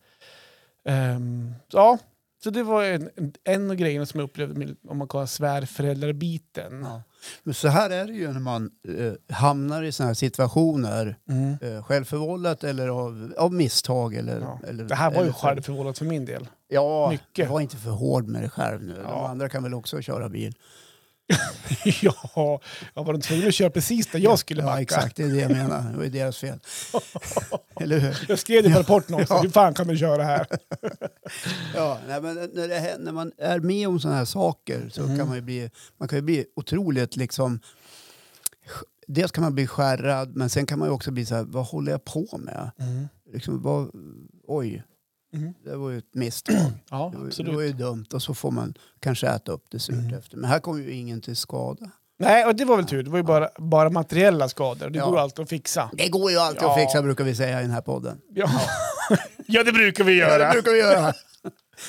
S2: Ehm, så, ja, så det var en, en, en av grejerna som jag upplevde med, om man kallar svärföräldrarbiten.
S1: Ja. Men så här är det ju när man eh, hamnar i sådana här situationer.
S2: Mm.
S1: Eh, självförvållat eller av, av misstag. Eller,
S2: Ja.
S1: eller,
S2: Det här var
S1: eller
S2: ju
S1: så-
S2: självförvållat för min del.
S1: Ja,
S2: mycket.
S1: var inte för hård med dig själv nu. De
S2: Ja.
S1: andra kan väl också köra bil.
S2: ja, jag var tvungen att köra precis där jag skulle backa.
S1: Ja, exakt. Det är det jag menar. Det var ju deras fel. eller hur?
S2: Jag skrev det på rapporten också.
S1: Ja.
S2: Hur fan kan du köra här?
S1: Ja, nej, men när, det, hä- när man är med om sådana här saker så
S2: Mm.
S1: kan man ju bli, man kan ju bli otroligt liksom... Dels kan man bli skärrad, men sen kan man ju också bli så här, vad håller jag på med? Liksom, vad, oj,
S2: Mm.
S1: det var ju ett misstag.
S2: Ja,
S1: Det var, ju- det var
S2: absolut. Mm.
S1: ju dumt och så får man kanske äta upp det surt efter. Men här kom ju ingen till skada.
S2: Nej, och det var väl tur. Det var ju bara, bara materiella skador. Det
S1: Ja.
S2: går alltid att fixa.
S1: Det går ju alltid
S2: Ja.
S1: att fixa brukar vi säga i den här podden.
S2: Ja, ja det brukar vi
S1: Ja, det
S2: göra.
S1: brukar vi göra.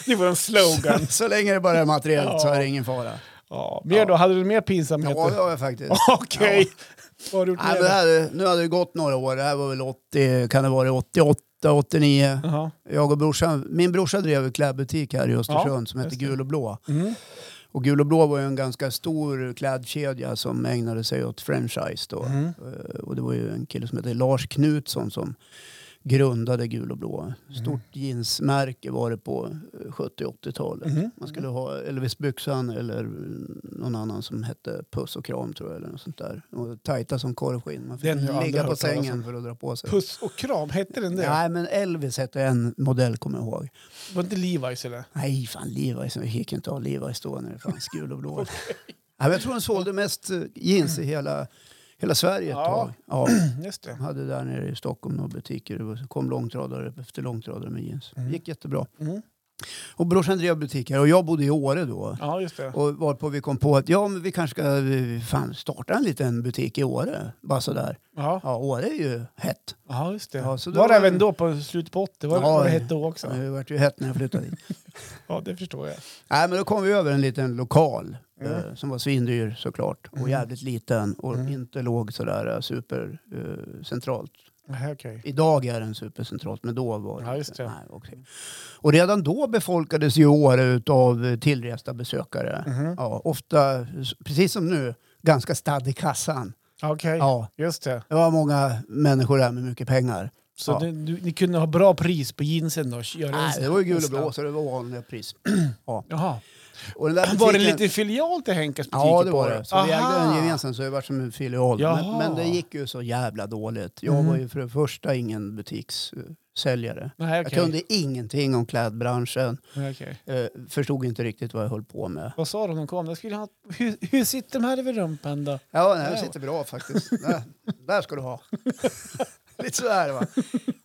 S2: Det var en slogan.
S1: så länge det bara är materiellt så är
S2: Ja.
S1: det ingen fara.
S2: Ja, mer då? Hade du mer pinsamheter?
S1: Ja, det har jag faktiskt.
S2: Okej. Vad har du gjort
S1: Nej,
S2: mer?
S1: men det
S2: då?
S1: här, nu hade det gått några år. Det här var väl 80, kan det vara 88, 89.
S2: Jaha.
S1: Jag och brorsan, min brorsa drev en klädbutik här i Östersund som hette
S2: just det.
S1: Gul och Blå.
S2: Mm.
S1: Och Gul och Blå var ju en ganska stor klädkedja som ägnade sig åt franchise då.
S2: Mm.
S1: Eh, Och det var ju en kille som hette Lars Knutsson som grundade Gul och Blå. Stort
S2: Mm.
S1: jeansmärke var det på eh, 70-80-talet.
S2: Mhm.
S1: Man skulle ha Elvis-byxan eller mm, någon annan som hette Puss och kram tror jag. Eller något sånt där. Och tajta som korvskinn. Man
S2: Den har jag
S1: fick
S2: aldrig
S1: ligga på
S2: hört talas om.
S1: sängen för att dra på sig.
S2: Puss och kram, hette den det?
S1: Nej men Elvis hette en modell kommer jag ihåg.
S2: Var det inte Levi's eller?
S1: Nej fan Levi's, vi gick inte att ha Levi's då när det fanns gul och blå. Nej, men jag tror de sålde mest eh, jeans i hela, hela Sverige ett
S2: Ja.
S1: tag. Ja.
S2: Just det.
S1: De hade där nere i Stockholm några butiker. Det var- kom långtradare efter långtradare med jeans. Det gick jättebra.
S2: Mm.
S1: Och brorsan drev butiker och jag bodde i Åre då.
S2: Ja, just det.
S1: Och varpå vi kom på att ja, men vi kanske ska eh, fan, starta en liten butik i Åre. Bara sådär.
S2: Ja,
S1: Ja, Åre är ju hett.
S2: ja just det.
S1: Ja, så då
S2: var det
S1: var det-
S2: även då på slutet på 80? Var, det-
S1: Ja,
S2: var det
S1: ja.
S2: hett då
S1: Så
S2: också?
S1: det vart ju hett när jag flyttade dit.
S2: Ja, det förstår jag.
S1: Nej, men då kom vi över en liten lokal
S2: Mm.
S1: eh, som var svindyr såklart och
S2: Mm. jävligt
S1: jävligt liten och
S2: Mm.
S1: inte låg sådär eh, supercentralt.
S2: Nej, Okej.
S1: Idag är den supercentralt, men då var
S2: Ja, just det.
S1: Nej, okej. Och redan då befolkades ju Åre av tillresta besökare.
S2: Mhm.
S1: Ja, ofta, s- precis som nu, ganska stadd i kassan.
S2: Okej,
S1: Ja,
S2: just det.
S1: det var många människor där med mycket pengar.
S2: Så
S1: Ja.
S2: det, du, ni kunde ha bra pris på jeansen då? Göra
S1: Nej,
S2: en-
S1: det var ju gul och
S2: nästan.
S1: blå så det var vanliga pris.
S2: Jaha.
S1: Och den där
S2: Var det en
S1: butiken-
S2: liten filial till Henkas butiker?
S1: Ja, det
S2: på
S1: var det. Så vi
S2: Aha.
S1: ägde den gemensamt så det var som en filial. Men,
S2: Jaha.
S1: men det gick ju så jävla dåligt. Jag
S2: Mm.
S1: var ju för det första ingen butikssäljare.
S2: Nej,
S1: Jag
S2: okej.
S1: kunde ingenting om klädbranschen.
S2: Nej, okej.
S1: Eh, förstod inte riktigt vad jag höll på med.
S2: Vad sa de när de kom? Jag skulle ha... hur, hur sitter de här över rumpan då?
S1: Ja, den här sitter bra faktiskt. där, där ska du ha. Lite sådär va.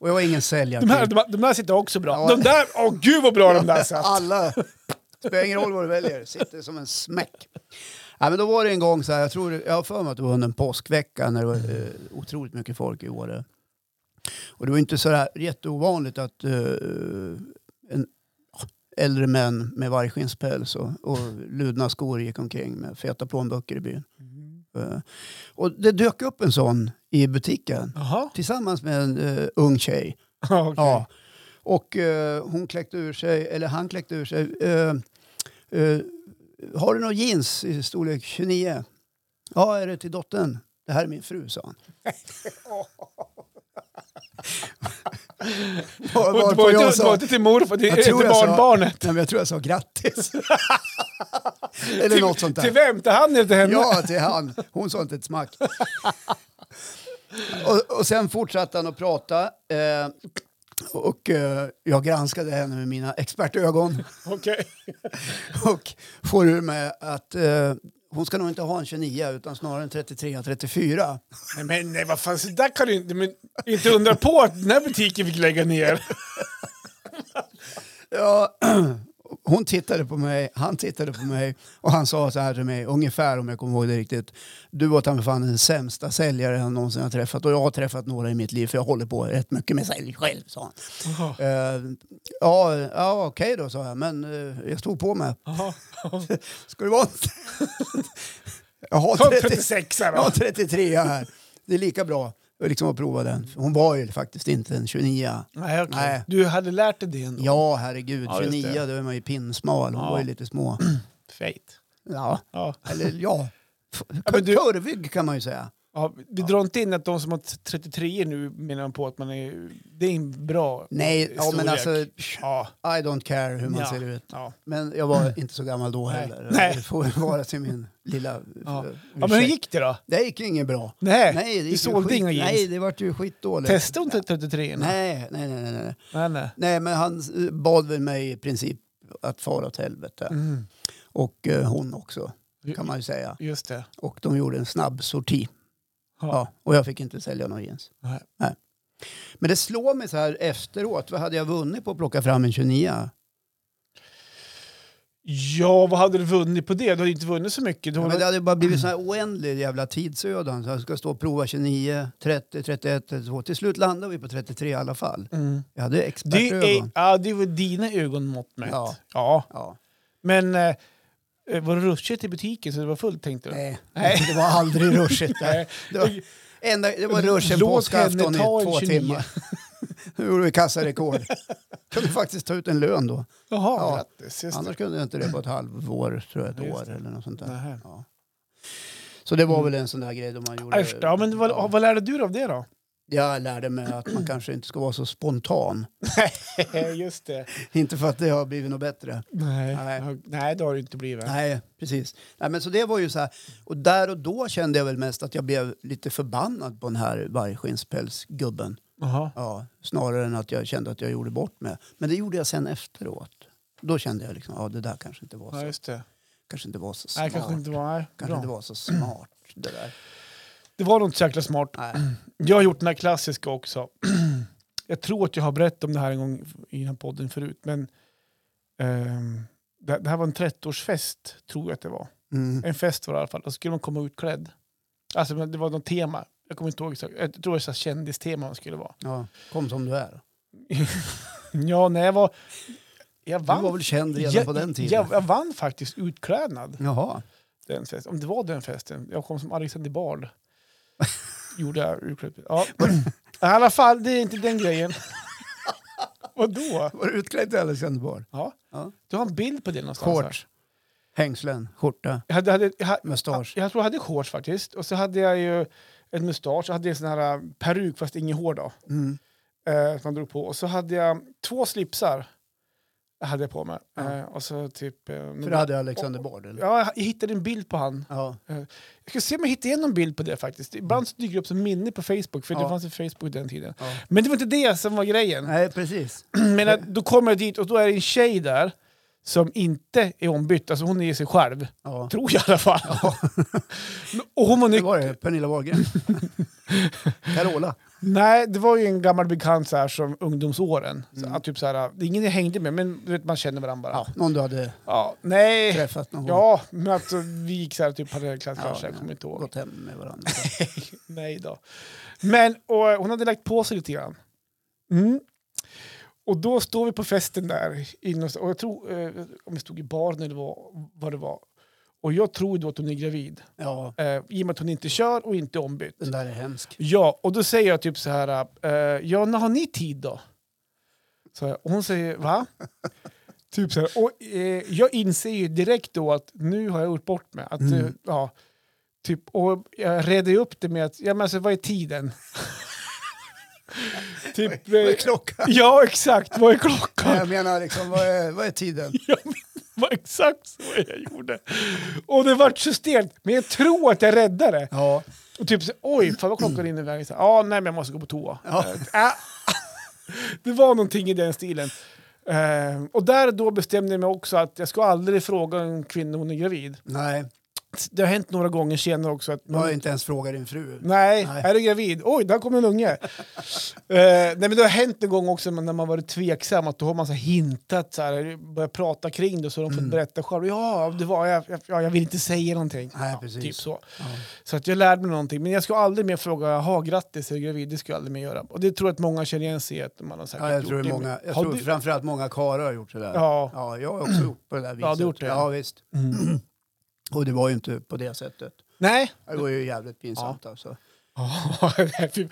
S1: Och jag var ingen säljare.
S2: De här, de, de där sitter också bra.
S1: Ja.
S2: De där, åh gud vad bra de där satt!
S1: Alla, spelar ingen roll vad du väljer, sitter som en smäck. Ja, men då var det en gång så här, jag, tror, jag har för mig att det var under en påskvecka när det var eh, otroligt mycket folk i Åre. Och det var inte så där jätteovanligt att eh, en, äldre män med vargskinspäls och, och ludna skor gick omkring med feta plånböcker i byn. Eh, och det dök upp en sån i butiken
S2: Jaha,
S1: tillsammans med en eh, ung tjej.
S2: Ja, okej.
S1: Ja. Och eh, hon kläckte ur sig, eller han kläckte ur sig. Eh, eh, har du någon jeans i storlek 29? Ja, är det till dottern? Det här är min fru, sa han. Var,
S2: Och
S1: varpå
S2: var
S1: jag
S2: inte- var
S1: sa,
S2: inte till morfar, till,
S1: jag
S2: till
S1: tror jag sa-
S2: barnbarnet.
S1: nej, men jag tror jag sa grattis. eller något sånt där.
S2: Till vem? Till han eller till henne?
S1: Ja, till han. Hon sa inte ett smack. och, och sen fortsatte han att prata. Eh, och eh, jag granskade henne med mina expertögon
S2: Okej.
S1: och får ur mig att eh, hon ska nog inte ha en 29 utan snarare en 33-34.
S2: Nej, men nej, vad fan, så där kan du inte... Men, inte undra på att den här butiken fick lägga ner.
S1: Ja, hon tittade på mig, han tittade på mig och han sa så här till mig, ungefär om jag kommer ihåg det riktigt. Du var ta mig fan den sämsta säljaren jag någonsin har träffat och jag har träffat några i mitt liv för jag håller på rätt mycket med sälj själv, sa han. Eh, ja, ja okej då, sa jag. Men eh, jag stod på mig.
S2: Jaha.
S1: Ska det vara en... jag, har
S2: Ta
S1: 30,
S2: 36
S1: jag har
S2: då.
S1: 33 här. Det är lika bra liksom att prova den. Hon var ju faktiskt inte en 29.
S2: Nej, okej.
S1: Nej.
S2: Du hade lärt dig det ändå?
S1: Ja, herregud.
S2: Ja, just det.
S1: 29, då är man ju pinsmal. Hon
S2: Ja.
S1: var ju lite små.
S2: Fate.
S1: Ja,
S2: Ja.
S1: eller ja. F-
S2: Ja, men du-
S1: Kurvig kan man ju säga.
S2: Ja, vi drar inte in att de som har 33 nu menar man på att man är... Det är en bra...
S1: Nej, ja, men
S2: Storlek.
S1: alltså,
S2: Ja.
S1: I don't care hur man
S2: Ja.
S1: ser ut.
S2: Ja.
S1: Men jag var inte så gammal då
S2: Nej.
S1: heller.
S2: Nej.
S1: Det får vara till min lilla
S2: Ja.
S1: ursäkt.
S2: ja, men hur gick det då?
S1: Det gick ju inget bra.
S2: Nej,
S1: Nej, det
S2: du
S1: gick ju
S2: sålde
S1: skit-
S2: inga jeans.
S1: Nej, det vart ju skitdåligt.
S2: Testade hon 33 nej.
S1: Nej, nej, nej, nej, nej.
S2: nej, nej.
S1: Nej, men han eh, bad väl mig i princip att fara åt helvete.
S2: Mm.
S1: Och eh, hon också, kan man ju säga.
S2: Just det.
S1: Och de gjorde en snabb sorti.
S2: Ja.
S1: Ja, och jag fick inte sälja någon jeans.
S2: Nej.
S1: Men det slår mig så här efteråt, vad hade jag vunnit på att plocka fram en 29?
S2: Ja, vad hade du vunnit på det? Du hade inte vunnit så mycket. Du
S1: Ja,
S2: har-
S1: men det hade ju bara blivit sån här oändlig jävla tidsödan. Så jag ska stå och prova 29, 30, 31, 32. Till slut landar vi på 33 i alla fall.
S2: mm.
S1: Jag hade
S2: det,
S1: expertögon.
S2: är, ja, det var dina ögonmått mätt. Ja.
S1: Ja.
S2: ja.
S1: Ja.
S2: Men eh, var det ruschigt i butiken så det var fullt tänkte du?
S1: Nej,
S2: Nej.
S1: det var aldrig ruschigt där.
S2: Nej.
S1: Det var, enda, det var ruschen
S2: Låt
S1: påskafton
S2: henne
S1: i
S2: ta en
S1: två
S2: 29.
S1: timmar. Nu gjorde vi kassarekord. kunde faktiskt ta ut en lön då.
S2: Jaha,
S1: Ja.
S2: grattis. Just det.
S1: Annars kunde jag inte det på ett halvår, tror jag, ett
S2: Just
S1: år
S2: det.
S1: eller något sånt där.
S2: Nähä.
S1: Ja. Så det var väl en sån där grej då man gjorde...
S2: Äsch, Ja, men vad,
S1: Ja.
S2: vad lärde du dig av det då?
S1: Jag lärde mig att man kanske inte ska vara så spontan.
S2: Just det.
S1: Inte för att det har blivit något bättre.
S2: Nej.
S1: Nej.
S2: Nej, det har det inte blivit.
S1: Nej, precis. Nej, men så det var ju så här. Och där och då kände jag väl mest att jag blev lite förbannad på den här vargskinnspälsgubben.
S2: Jaha.
S1: Ja, snarare än att jag kände att jag gjorde bort mig. Men det gjorde jag sen efteråt. Då kände jag liksom, ja det där kanske inte var
S2: Ja,
S1: så,
S2: just det.
S1: kanske inte var så smart.
S2: Nej, kanske inte var... Nej,
S1: kanske
S2: bra.
S1: inte var så smart det där.
S2: Det var nog inte så jäkla smart.
S1: Nej.
S2: Jag har gjort den här klassiska också. Jag tror att jag har berättat om det här en gång i den här podden förut. Men, ehm, det, det här var en 30-årsfest, tror jag att det var.
S1: Mm.
S2: En fest var det i alla fall. Och så skulle man komma utklädd. Alltså men det var något tema. Jag kommer inte ihåg exakt. Jag tror det var så här kändistema man skulle vara.
S1: Ja, kom som du är. Mm.
S2: Ja, när jag var... Jag
S1: Du
S2: vann,
S1: var väl känd redan
S2: jag,
S1: på den tiden?
S2: Jag, jag vann faktiskt utklädnad.
S1: Jaha.
S2: Den festen. Om det var den festen. Jag kom som Alexander Bard. Gjorde jag urklippet. Ja. I alla fall, det är inte den grejen. Vadå?
S1: Var du utklädd till Alexander Bard?
S2: Ja.
S1: Ja.
S2: Du har en bild på det någonstans. här.
S1: Shorts, hängslen, skjorta,
S2: Jag, hade, jag, hade, jag, hade,
S1: mustasch.
S2: jag tror jag hade shorts faktiskt. Och så hade jag ju en mustasch. Jag hade en sån här äh, peruk fast ingen hår då.
S1: Mm.
S2: Eh, som man drog på. Och så hade jag två slipsar. Hade jag på mig.
S1: Ja.
S2: Eh, och så typ... Eh,
S1: För det hade Alexander Bard? Eller?
S2: Ja, jag hittade en bild på han.
S1: Ja.
S2: Jag ska se om jag hittar igen någon bild på det faktiskt. Ibland så dyker det upp som minne på Facebook, för det
S1: Ja.
S2: fanns ju Facebook den tiden.
S1: ja.
S2: Men det var inte det som var grejen.
S1: Nej, precis.
S2: Men att, då kommer jag dit och då är det en tjej där som inte är ombytt. Alltså hon är sig själv,
S1: Ja.
S2: tror jag i alla fall. Men- och hon var
S1: Det
S2: nyk-
S1: var det, Pernilla Wahlgren. Carola.
S2: Nej, det var ju en gammal bekant så här som ungdomsåren.
S1: Mm.
S2: Så, att typ så här, det är ingen jag hängde med, men du vet, man känner varandra bara. Ja.
S1: Någon du hade
S2: nej.
S1: träffat någon gång.
S2: Ja, men att vi gick så här typ parallellklass
S1: Ja,
S2: kanske,
S1: ja.
S2: jag kommer inte ihåg.
S1: Gått hem med varandra.
S2: Nej då. Men och eh, hon hade lagt på sig lite grann. Mm. Och då står vi på festen där, inne och, och jag tror, eh, om vi stod i baren eller vad, vad det var. Och jag tror då att hon är gravid,
S1: Ja,
S2: eh, i och med att hon inte kör och inte är ombytt.
S1: den där är hemsk.
S2: äh, Ja, och då säger jag typ så här, eh, ja när har ni tid då? Så här, och hon säger va? typ så här, och, eh, jag inser ju direkt då att nu har jag gjort bort mig.
S1: Mm.
S2: Att, eh, ja, typ, och jag redde ju upp det med att, ja men alltså vad är tiden? typ,
S1: Vad är
S2: eh,
S1: klockan?
S2: ja exakt, vad är klockan?
S1: Jag menar, liksom, vad, är, vad är tiden?
S2: Jag var exakt så jag gjorde. Och det vart så stelt, men jag tror att jag räddade det.
S1: Ja.
S2: Och typ så, oj, fan vad klockan rinner iväg. Så, Ja, nej men jag måste gå på toa.
S1: Ja.
S2: Äh. Det var någonting i den stilen. Eh, och där då bestämde jag mig också att jag ska aldrig fråga en kvinna om hon är gravid.
S1: Nej,
S2: Det har hänt några gånger senare också. Att
S1: du har inte ens frågat din fru.
S2: Nej,
S1: Nej.
S2: är du gravid? Oj, där kom en unge. Eh, nej, men det har hänt en gång också men när man varit tveksam att då har man så här hintat, så här, börjat prata kring det så har de fått
S1: Mm.
S2: berätta själv. Ja, det var jag, jag, ja, jag vill inte säga någonting.
S1: Nej,
S2: ja,
S1: precis.
S2: Typ så. Så att jag lärde mig någonting. Men jag ska aldrig mer fråga, jaha grattis, är du gravid? Det ska jag aldrig mer göra. Och det tror jag att många känner igen sig i att man har säkert
S1: Ja, jag
S2: gjort
S1: tror, det är många, jag
S2: Har
S1: tror
S2: du-
S1: framförallt många karlar har gjort det där.
S2: Ja.
S1: ja, jag har också gjort på det där viset.
S2: Ja, du har gjort det. Mm.
S1: Ja, visst. Och det var ju inte på det sättet.
S2: Nej.
S1: Det var ju jävligt pinsamt alltså.
S2: Ja, det är typ-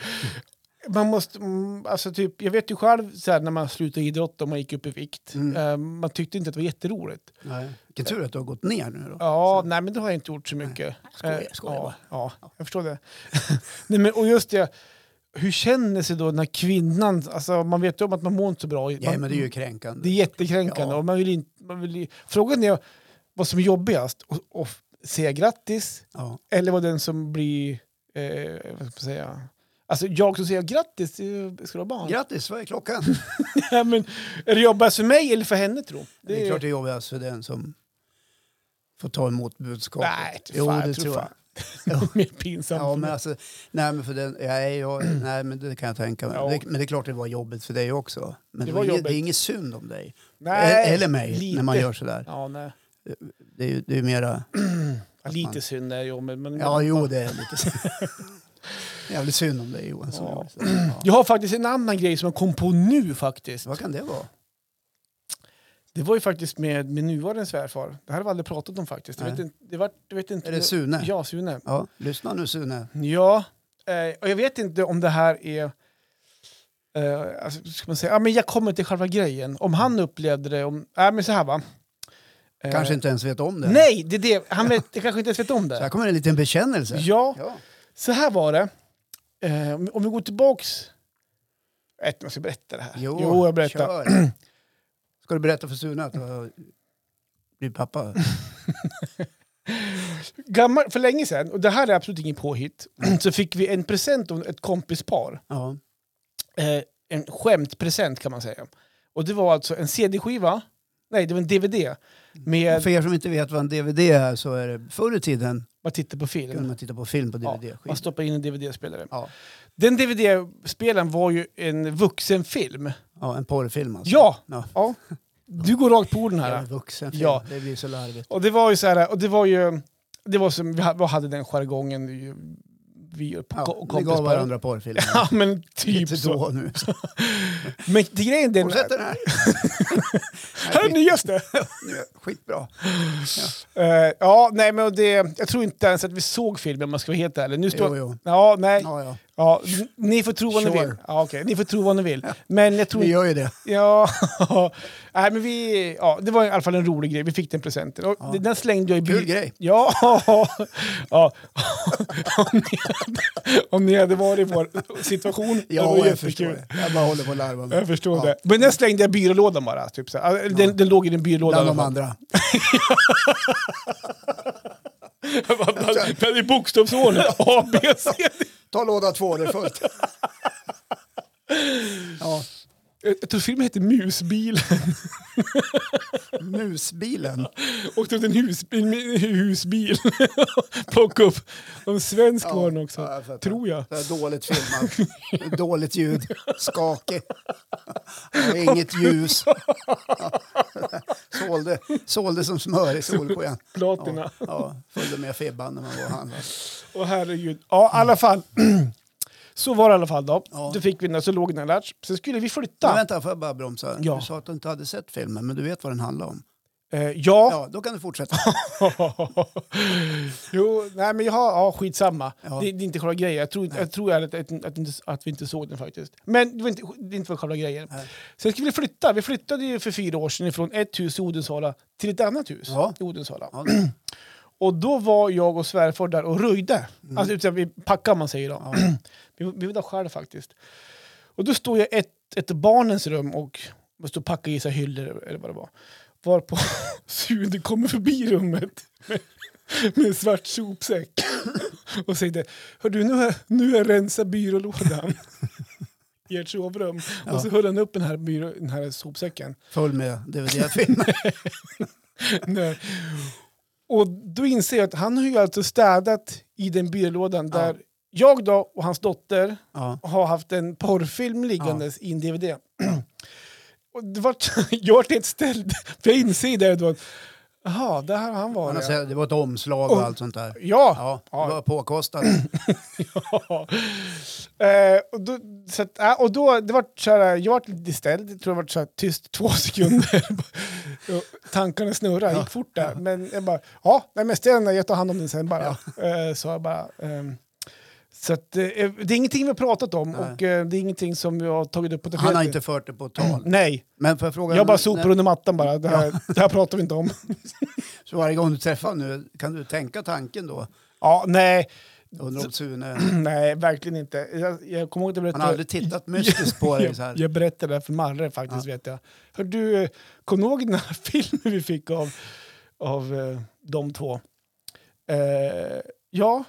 S2: man måste, mm, alltså typ, jag vet ju själv så här, när man slutade idrotta och man gick upp i vikt.
S1: Mm.
S2: eh, man tyckte inte att det var jätteroligt.
S1: Nej. Vilken tur att du har gått ner nu då.
S2: Ja, nej men det har jag inte gjort så mycket.
S1: skojar,
S2: Eh,
S1: skojar
S2: ja,
S1: bara.
S2: ja, jag förstår det. nej, men, och just det, hur känner sig då när kvinnan, alltså man vet ju om att man mår inte så bra. Man,
S1: Nej, men det är ju kränkande.
S2: det är jättekränkande.
S1: Ja.
S2: Och man vill inte, man vill, ju- frågan är vad som är jobbigast, att och säga grattis
S1: Ja.
S2: eller vad den som blir, eh, vad ska man säga, Alltså jag som säger grattis, eh, ska du ha barn?
S1: Grattis, vad är klockan?
S2: Nej, men, är det jobbigast för mig eller för henne tro?
S1: Det är, klart det är jobbigast för den som får ta emot budskapet.
S2: Nej,
S1: jo,
S2: fan,
S1: det tror jag.
S2: fan. Det är mer pinsamt
S1: Ja,
S2: för
S1: men
S2: mig.
S1: alltså, nej, men för den, nej, jag, nej, men det kan jag tänka mig.
S2: Ja.
S1: Det, men det är klart det var jobbigt för dig också. Men
S2: Det
S1: det,
S2: var
S1: var inget-
S2: jobbigt.
S1: det är inget synd om dig.
S2: Nej,
S1: E- Eller mig, när man
S2: lite.
S1: gör sådär.
S2: Ja, nej.
S1: Det är ju det är ju mera...
S2: Ja, lite synd är jag, men, men
S1: Ja, jo, det är lite synd. Jävligt synd om dig, Johan. som
S2: Ja.
S1: gjorde sådär. Ja.
S2: Jag har faktiskt en annan grej som jag kom på nu faktiskt.
S1: Vad kan det vara?
S2: Det var ju faktiskt med min nuvarande svärfar. Det här har vi aldrig pratat om faktiskt. Jag vet
S1: Nej.
S2: inte, det var, jag vet inte
S1: Är det Sune?
S2: Ja, Sune.
S1: Ja, lyssna nu, Sune.
S2: Ja, eh, och jag vet inte om det här är... Eh, alltså, ska man säga? Ja, men jag kommer till själva grejen. Om han upplevde det... Om, äh, men så här va. Eh,
S1: Kanske inte ens vet om det.
S2: Nej, det är det. Han vet, jag kanske inte ens vet om
S1: Så här
S2: det.
S1: kommer en liten bekännelse.
S2: Ja,
S1: Ja.
S2: så här var det. Eh, om- om vi går tillbaks... Jag vet inte om jag ska berätta det här. jag berättar.
S1: kör. Ska du berätta för Sune att du har blivit pappa?
S2: gammal, för länge sedan, och det här är absolut ingen påhitt, så fick vi en present av ett kompispar.
S1: Ja.
S2: Eh, en skämtpresent kan man säga. Och det var alltså en CD-skiva, nej det var en DVD, med
S1: För er som inte vet vad en DVD är så är det förr i tiden
S2: man tittar på film.
S1: kunde man titta på film på
S2: Ja,
S1: DVD.
S2: man stoppar in en DVD-spelare.
S1: Ja.
S2: Den DVD-spelaren var ju en vuxenfilm.
S1: ja, en porrfilm alltså.
S2: Ja!
S1: Ja.
S2: ja. Du går rakt på orden
S1: Jag är
S2: här.
S1: vuxen.
S2: Ja.
S1: Ja. Det blir så larvigt.
S2: Och det var ju så här, och det var ju, det var som, vi ha- vi hade den jargongen vi- vi och
S1: Ja, vi gav
S2: kompispar.
S1: varandra porrfilmer.
S2: Ja men
S1: Inte
S2: typ så.
S1: så nu.
S2: Men det grejen är...
S1: Fortsätt den här.
S2: Här är nyaste!
S1: Skitbra.
S2: Eh, ja, nej men det, jag tror inte ens att vi såg filmen om man ska vara helt ärlig. Nu står,
S1: Jo, jo.
S2: Ja, nej. Ja.
S1: Ja, ja.
S2: n- ni får tro vad ni
S1: Sure.
S2: vill. Ja, okej, Ni får tro vad ni vill. Men jag tror
S1: Vi gör ju det.
S2: Ja, nej, men vi, ja, det var i alla fall en rolig grej. Vi fick den presenten. Och
S1: Ja.
S2: den- Den slängde jag i
S1: Kul
S2: bil-
S1: grej.
S2: Ja, ja. Om, ni hade, om ni hade varit i vår situation.
S1: Ja,
S2: det var
S1: jag
S2: jättekul.
S1: förstår det. Jag bara håller på att larva mig.
S2: Jag förstår
S1: Ja.
S2: det. Men den slängde jag i byrålådan bara. Typ, så. här. Alltså, Den, den låg i en byrålåda.
S1: Bland
S2: i alla
S1: de
S2: fall.
S1: andra.
S2: Bland- bland- I bokstavsordning. A, B, C. D.
S1: Ta låda två, det är fullt. Ja,
S2: Jag tror filmen hette Musbilen.
S1: musbilen.
S2: Åkte ut en husbil. en husbil. Plocka upp. En svensk
S1: Ja,
S2: var den också.
S1: ja, jag fattar.
S2: tror jag.
S1: Så här dåligt filmat, dåligt ljud, skakig. Ja, Inget ljus. Ja. Sålde, sålde som smör i solsken.
S2: Platina.
S1: Ja, följde med Fibban när man var och handlade.
S2: Åh herregud. Ja, i alla fall. Så var det i alla fall då.
S1: Ja.
S2: Då fick vi den, så låg den där. Sen skulle vi
S1: Men
S2: flytta.
S1: vänta, får jag bara bromsa?
S2: Ja.
S1: Du sa att du inte hade sett filmen, men du vet vad den handlar om?
S2: Eh, ja.
S1: Ja, då kan du fortsätta.
S2: jo, nej men jag har, ja skitsamma.
S1: Ja.
S2: Det, det är inte själva grejen. Jag tror, inte- jag tror ärligt att, att, inte- att vi inte såg den faktiskt. Men det var inte, det är inte själva grejen.
S1: Nej.
S2: Sen skulle vi flytta. Vi flyttade ju för fyra år sedan från ett hus i Odensala till ett annat hus
S1: Ja.
S2: i Odensala.
S1: Ja.
S2: Och då var jag och svärfar där och röjde.
S1: Mm.
S2: Alltså utan vi packade om man säger då. vi, vi var där själv faktiskt. Och då stod jag i ett, ett barnens rum och jag stod och packade i sig hyllor eller vad det var. Varpå Sune kommer förbi rummet med, med en svart sopsäck och säger Hör du, nu har, nu har jag rensat byrålådan i ert sovrum. Och så höll han upp den här, byrå, den här sopsäcken.
S1: Full med dvd-filmer.
S2: Nej. Och då inser jag att han har ju alltså städat i den byrålådan
S1: Ja.
S2: där jag då och hans dotter
S1: Ja.
S2: har haft en porrfilm liggandes i en DVD. och det var, jag vart helt ställd, för jag inser där då att jaha, där har han
S1: Man har
S2: varit. ja."
S1: sett- Det var ett omslag och allt sånt där.
S2: Oh. Ja,
S1: Ja, det var påkostat. Ja,
S2: Eh, och då, så att, äh, och då det var så här, jag var lite ställd, jag tror jag var så här, tyst två sekunder. Och Tankarna snurrade, gick fort där. Men jag bara, ja, nej, men ställ jag tar hand om den sen bara. Eh, så jag bara, ehm, så att, eh, det är ingenting vi har pratat om
S1: Nej.
S2: och eh, det är ingenting som vi har tagit upp på
S1: Han har inte fört det på tal.
S2: Nej,
S1: Men får jag fråga,
S2: jag bara sopar
S1: när-
S2: under mattan bara. Det här, det här pratar vi inte om.
S1: Så varje gång du träffar honom nu, kan du tänka tanken då?
S2: Ja, nej,
S1: Undrar om Sune...
S2: nej, verkligen inte. Jag, jag kommer ihåg att
S1: Han
S2: jag berättade-
S1: har aldrig tittat mystiskt på dig så här.
S2: Jag, jag berättade det här för Marre faktiskt, vet jag. Hör du, eh, kom du ihåg den här filmen vi fick av, av eh, de två? Eh, ja.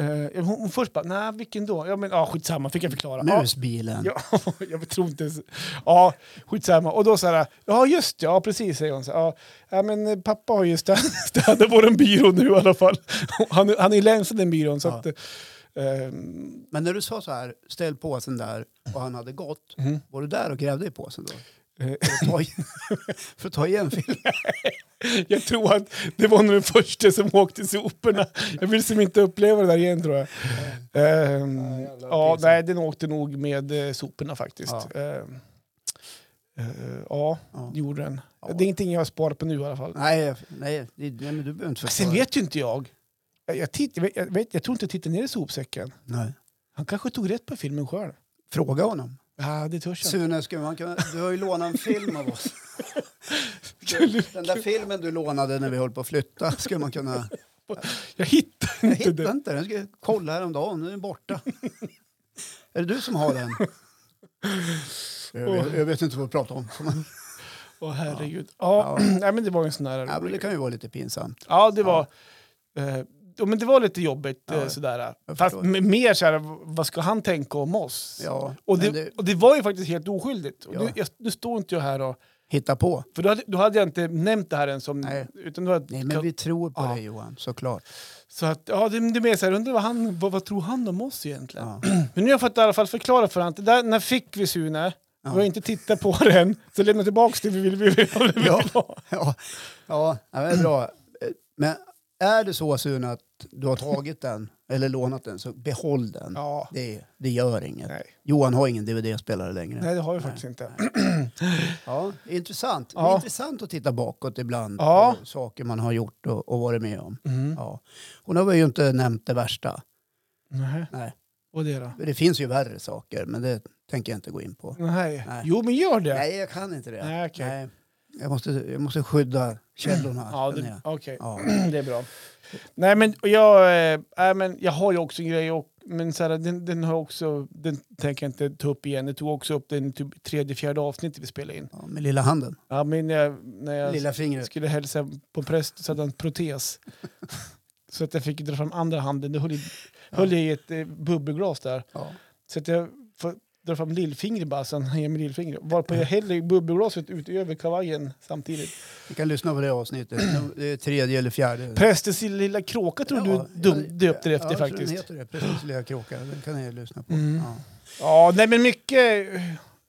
S2: Eh, hon, hon först bara, nej vilken då? Ja men ja, skitsamma, fick jag förklara. Ja,
S1: Musbilen.
S2: Ja, jag tror inte ens... Ja, skitsamma. Och då så här, ja just det, ja precis säger hon. Så, här, ja, ja, men eh, pappa har ju stä- städat våran byrå nu i alla fall. Han, han är ju länsad den byrån så
S1: Ja.
S2: att... ehm,
S1: Men när du sa så här, ställ påsen där och han hade gått, var du där och grävde i påsen då?
S2: Mhm.
S1: För
S2: Eh.
S1: att ta, i- för att ta igen filmen?
S2: Jag tror att det var nog den första som åkte soporna. Jag vill som inte uppleva det där igen tror jag. Ehm,
S1: jävlar,
S2: ja,
S1: pinsamt.
S2: nej, den åkte nog med eh, soporna faktiskt.
S1: Ja.
S2: Ehm, eh, ja,
S1: Ja.
S2: det gjorde den.
S1: Ja.
S2: Det är ingenting jag sparar på nu i alla fall.
S1: Nej, nej, det- nej, men du behöver inte
S2: Sen
S1: förklara.
S2: vet ju inte jag. Jag, jag, titt, jag, vet- jag, vet, jag tror inte jag tittade ner i sopsäcken.
S1: Nej.
S2: Han kanske tog rätt på filmen själv.
S1: Fråga honom.
S2: Ja, det törs jag inte.
S1: Sune, skulle man kunna, du har ju lånat en film av oss. Den där filmen du lånade när vi höll på att flytta, skulle man kunna...
S2: Jag hittade
S1: Jag
S2: inte
S1: hittade
S2: den.
S1: inte den, jag skulle kolla häromdagen, nu är den borta. Är det du som har den? Jag vet, jag vet inte vad du pratar om.
S2: Åh herregud. Ja, nej, men det var en sån där...
S1: Ja, men det kan ju vara lite pinsamt.
S2: Ja, det var, eh, ja, men det var lite jobbigt. eh, sådär.
S1: jag
S2: Fast
S1: förstår.
S2: m- mer så här, v- vad ska han tänka om oss?
S1: Ja,
S2: och, det,
S1: men det-
S2: och det var ju faktiskt helt oskyldigt. Och
S1: Ja.
S2: nu, jag, nu står inte jag här och...
S1: Hitta på.
S2: För då hade, då hade jag inte nämnt det här än som...
S1: Nej.
S2: Utan då hade,
S1: Nej, men vi tror på
S2: Ja.
S1: dig Johan, såklart.
S2: Så att, ja, det, det är mer så här, undrar vad, han, vad, vad tror han om oss egentligen?
S1: Ja.
S2: Men nu har jag fått i alla fall förklara för honom. Det där, när fick vi Sune? Vi har inte tittat på den, så lämna tillbaka det vi vill, vi vill, vi vill
S1: Ja.
S2: ha.
S1: Ja, ja, ja men det är bra. Men är det så Sune att du har tagit den eller lånat den så behåll den.
S2: Ja.
S1: Det, det gör inget.
S2: Nej.
S1: Johan har ingen dvd-spelare längre.
S2: Nej, det har vi faktiskt inte.
S1: Ja, intressant. Det är
S2: Ja.
S1: intressant att titta bakåt ibland
S2: Ja.
S1: på saker man har gjort och, och varit med om.
S2: Mm.
S1: Ja. Och nu har vi ju inte nämnt det värsta.
S2: Nej.
S1: Nej.
S2: Och det då?
S1: Det finns ju värre saker, men det tänker jag inte gå in på.
S2: Nej.
S1: Nej.
S2: Jo, men gör det.
S1: Nej, jag kan inte det.
S2: Nej, okej.
S1: Nej. Jag, måste, jag måste skydda källorna.
S2: Ja,
S1: känner
S2: det,
S1: jag.
S2: okej.
S1: Ja.
S2: Det är bra. Nej, men och jag, eh, nej, men jag har ju också en grej, och, men så här, den, den har jag också, den tänker jag inte ta upp igen. Jag tog också upp den i typ tredje, fjärde avsnittet vi spelade in.
S1: Ja, med lilla handen,
S2: Ja, men när jag, när jag
S1: lilla fingret.
S2: skulle hälsa på präst så hade han en protes. så att jag fick dra fram andra handen. Det höll, i- höll jag i ett eh, bubbelglas där.
S1: Ja.
S2: Så att jag får dra fram lillfingret bara, så han hänger med lillfingret. Varpå jag häller bubbelglaset ut över kavajen samtidigt.
S1: Vi kan lyssna på det avsnittet. Det är tredje eller fjärde.
S2: Prästens lilla kråka tror
S1: Ja,
S2: du dum,
S1: jag-
S2: döpte det efter
S1: ja, jag tror
S2: faktiskt.
S1: Den heter det, precis. Lilla kråka. Den kan ni lyssna på.
S2: Mm.
S1: Ja.
S2: Ja, nej men mycket,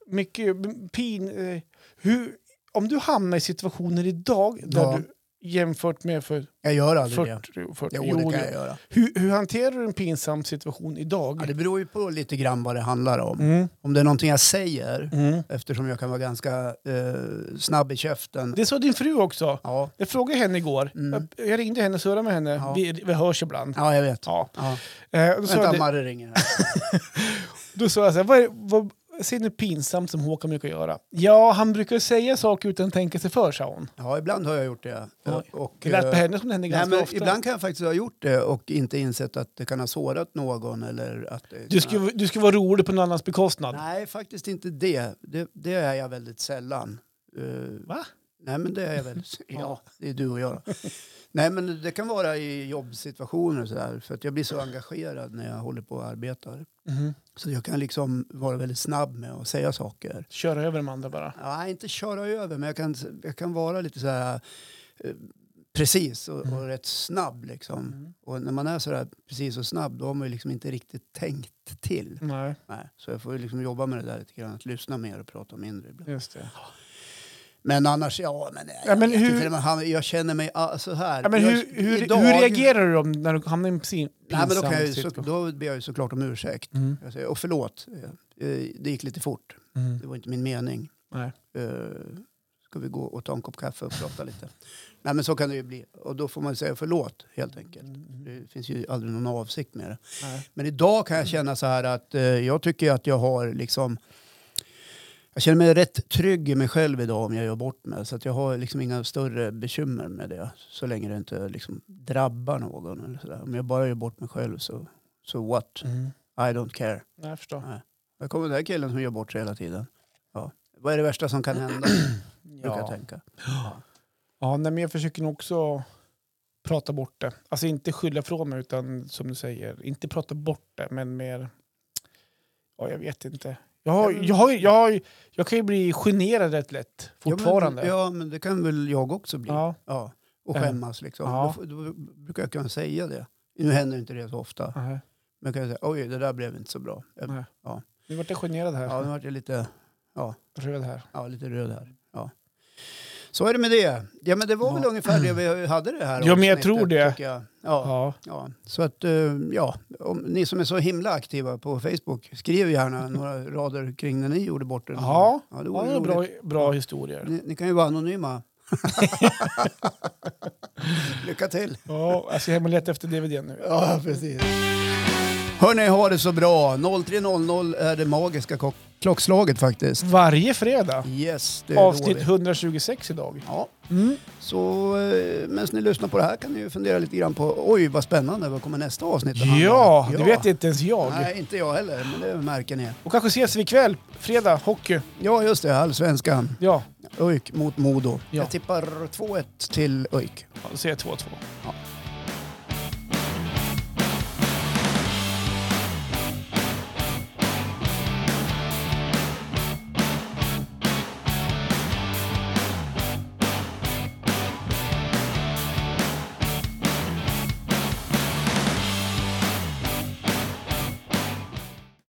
S2: mycket pin... eh, Hur, om du hamnar i situationer idag där
S1: Ja.
S2: du jämfört med för
S1: Jag gör aldrig det.
S2: 40, 40
S1: Jo, det kan jag göra.
S2: Hur, hur hanterar du en pinsam situation
S1: Ja,
S2: idag?
S1: det beror ju på lite grann vad det handlar om.
S2: Mm.
S1: Om det är någonting jag säger,
S2: Mm.
S1: eftersom jag kan vara ganska eh, snabb i käften.
S2: Det sa din fru också.
S1: Ja.
S2: Jag frågade henne igår.
S1: Mm.
S2: Jag, jag ringde henne och surrade med henne.
S1: Ja.
S2: Vi, vi hörs ibland.
S1: ja, jag vet.
S2: Ja.
S1: Ja.
S2: Eh, då, sa
S1: Vänta,
S2: jag,
S1: Marre ringer här.
S2: då sa jag så här, vad, är- vad ser ni pinsamt som Håkan brukar göra? Ja, han brukar säga saker utan att tänka sig för, sa hon.
S1: Ja, ibland har jag gjort det.
S2: Oj.
S1: Och,
S2: Det lät på
S1: eh,
S2: henne som det hände
S1: Nej,
S2: ganska
S1: men
S2: ofta.
S1: ibland kan jag faktiskt ha gjort det och inte insett att det kan ha sårat någon. Eller att det
S2: Du, ska,
S1: kan...
S2: du ska vara rolig på någon annans bekostnad.
S1: Nej, faktiskt inte det. det. Det är jag väldigt sällan. Eh,
S2: Va?
S1: Nej, men det är jag väl.
S2: Ja.
S1: Ja, det är du och jag. Nej, men det kan vara i jobbsituationer och sådär. För att jag blir så engagerad när jag håller på och arbetar.
S2: Mhm.
S1: Så jag kan liksom vara väldigt snabb med att säga saker.
S2: Köra över de andra bara.
S1: Nej, inte köra över, men jag kan, jag kan vara lite så här eh, precis och, och rätt snabb liksom.
S2: Mm.
S1: Och när man är så där precis och snabb, då har man ju liksom inte riktigt tänkt till.
S2: Nej,
S1: Nej, så jag får ju liksom jobba med det där lite grann, att lyssna mer och prata mindre ibland.
S2: just det.
S1: Men annars, ja, men, nej,
S2: Ja,
S1: jag
S2: men
S1: vet
S2: hur-
S1: inte, men han, jag känner mig ah, så här.
S2: Ja, men hur,
S1: jag,
S2: hur, hur reagerar du om, när du hamnar i en pin-
S1: Nej,
S2: pinsam
S1: men då, kan jag ju, så,
S2: situation?
S1: då ber jag ju såklart om ursäkt.
S2: Mm.
S1: Jag säger, och förlåt, eh, eh, det gick lite fort.
S2: Mm.
S1: Det var inte min mening.
S2: Nej.
S1: Eh, ska vi gå och ta en kopp kaffe och prata lite? Nej, men så kan det ju bli. Och då får man säga förlåt, helt enkelt. Det finns ju aldrig någon avsikt med det.
S2: Nej.
S1: Men idag kan jag känna så här att eh, jag tycker att jag har liksom jag känner mig rätt trygg i mig själv idag om jag gör bort mig. Så att jag har liksom inga större bekymmer med det. Så länge det inte liksom drabbar någon. Eller så där. Om jag bara gör bort mig själv så so what?
S2: Mm.
S1: I don't care.
S2: Nej, jag
S1: Mm.
S2: förstår.
S1: Där kommer den där killen som gör bort sig hela tiden. Ja. Vad är det värsta som kan hända? Brukar jag
S2: Ja.
S1: tänka.
S2: Ja, nej, men jag försöker nog också prata bort det. Alltså inte skylla från mig, utan som du säger, inte prata bort det, men mer... Ja, jag vet inte. Jag, har, jag, har, jag, har, jag kan ju bli generad rätt lätt fortfarande.
S1: Ja men, ja, men det kan väl jag också bli.
S2: Ja,
S1: Ja, och
S2: Ja.
S1: skämmas liksom.
S2: Ja.
S1: Då, får- då brukar jag kunna säga det. Nu händer inte det så ofta.
S2: nej.
S1: Men jag kan säga, oj det där blev inte så bra. Jag,
S2: Nej.
S1: ja.
S2: Nu vart jag generad här.
S1: ja, nu vart jag lite,
S2: Röd här.
S1: ja, lite röd här. Ja. Så är det med det. Ja, men det var
S2: Ja.
S1: väl ungefär det vi hade det här
S2: Ja, men jag
S1: avsnittet,
S2: tror det.
S1: tycker jag. Ja,
S2: Ja.
S1: ja. Så att, eh, ja, om, ni som är så himla aktiva på Facebook, skriv gärna några rader kring när ni gjorde bort det.
S2: Ja.
S1: ja det
S2: Ja,
S1: vore
S2: det är
S1: roligt.
S2: bra, bra historier.
S1: Ni, ni kan ju vara anonyma. Lycka till!
S2: Ja, alltså, jag ska hem och leta efter DVD nu.
S1: Ja, precis. Hörni, ha det så bra. 03.00 är det magiska kock- klockslaget faktiskt.
S2: Varje fredag.
S1: Yes, det är
S2: Avsnitt
S1: då vi...
S2: 126 idag.
S1: Ja,
S2: Mm.
S1: så eh, medan ni lyssnar på det här kan ni ju fundera lite grann på oj vad spännande, vad kommer nästa avsnitt att handla om?
S2: Ja, det vet inte ens jag.
S1: Nej, inte jag heller, men det märker ni.
S2: Och kanske ses vi ikväll, fredag, hockey.
S1: Ja, just det, allsvenskan.
S2: Ja,
S1: ÖIK mot Modo.
S2: Ja.
S1: Jag tippar 2-1 till ÖIK.
S2: då säger jag 2-2.
S1: Ja,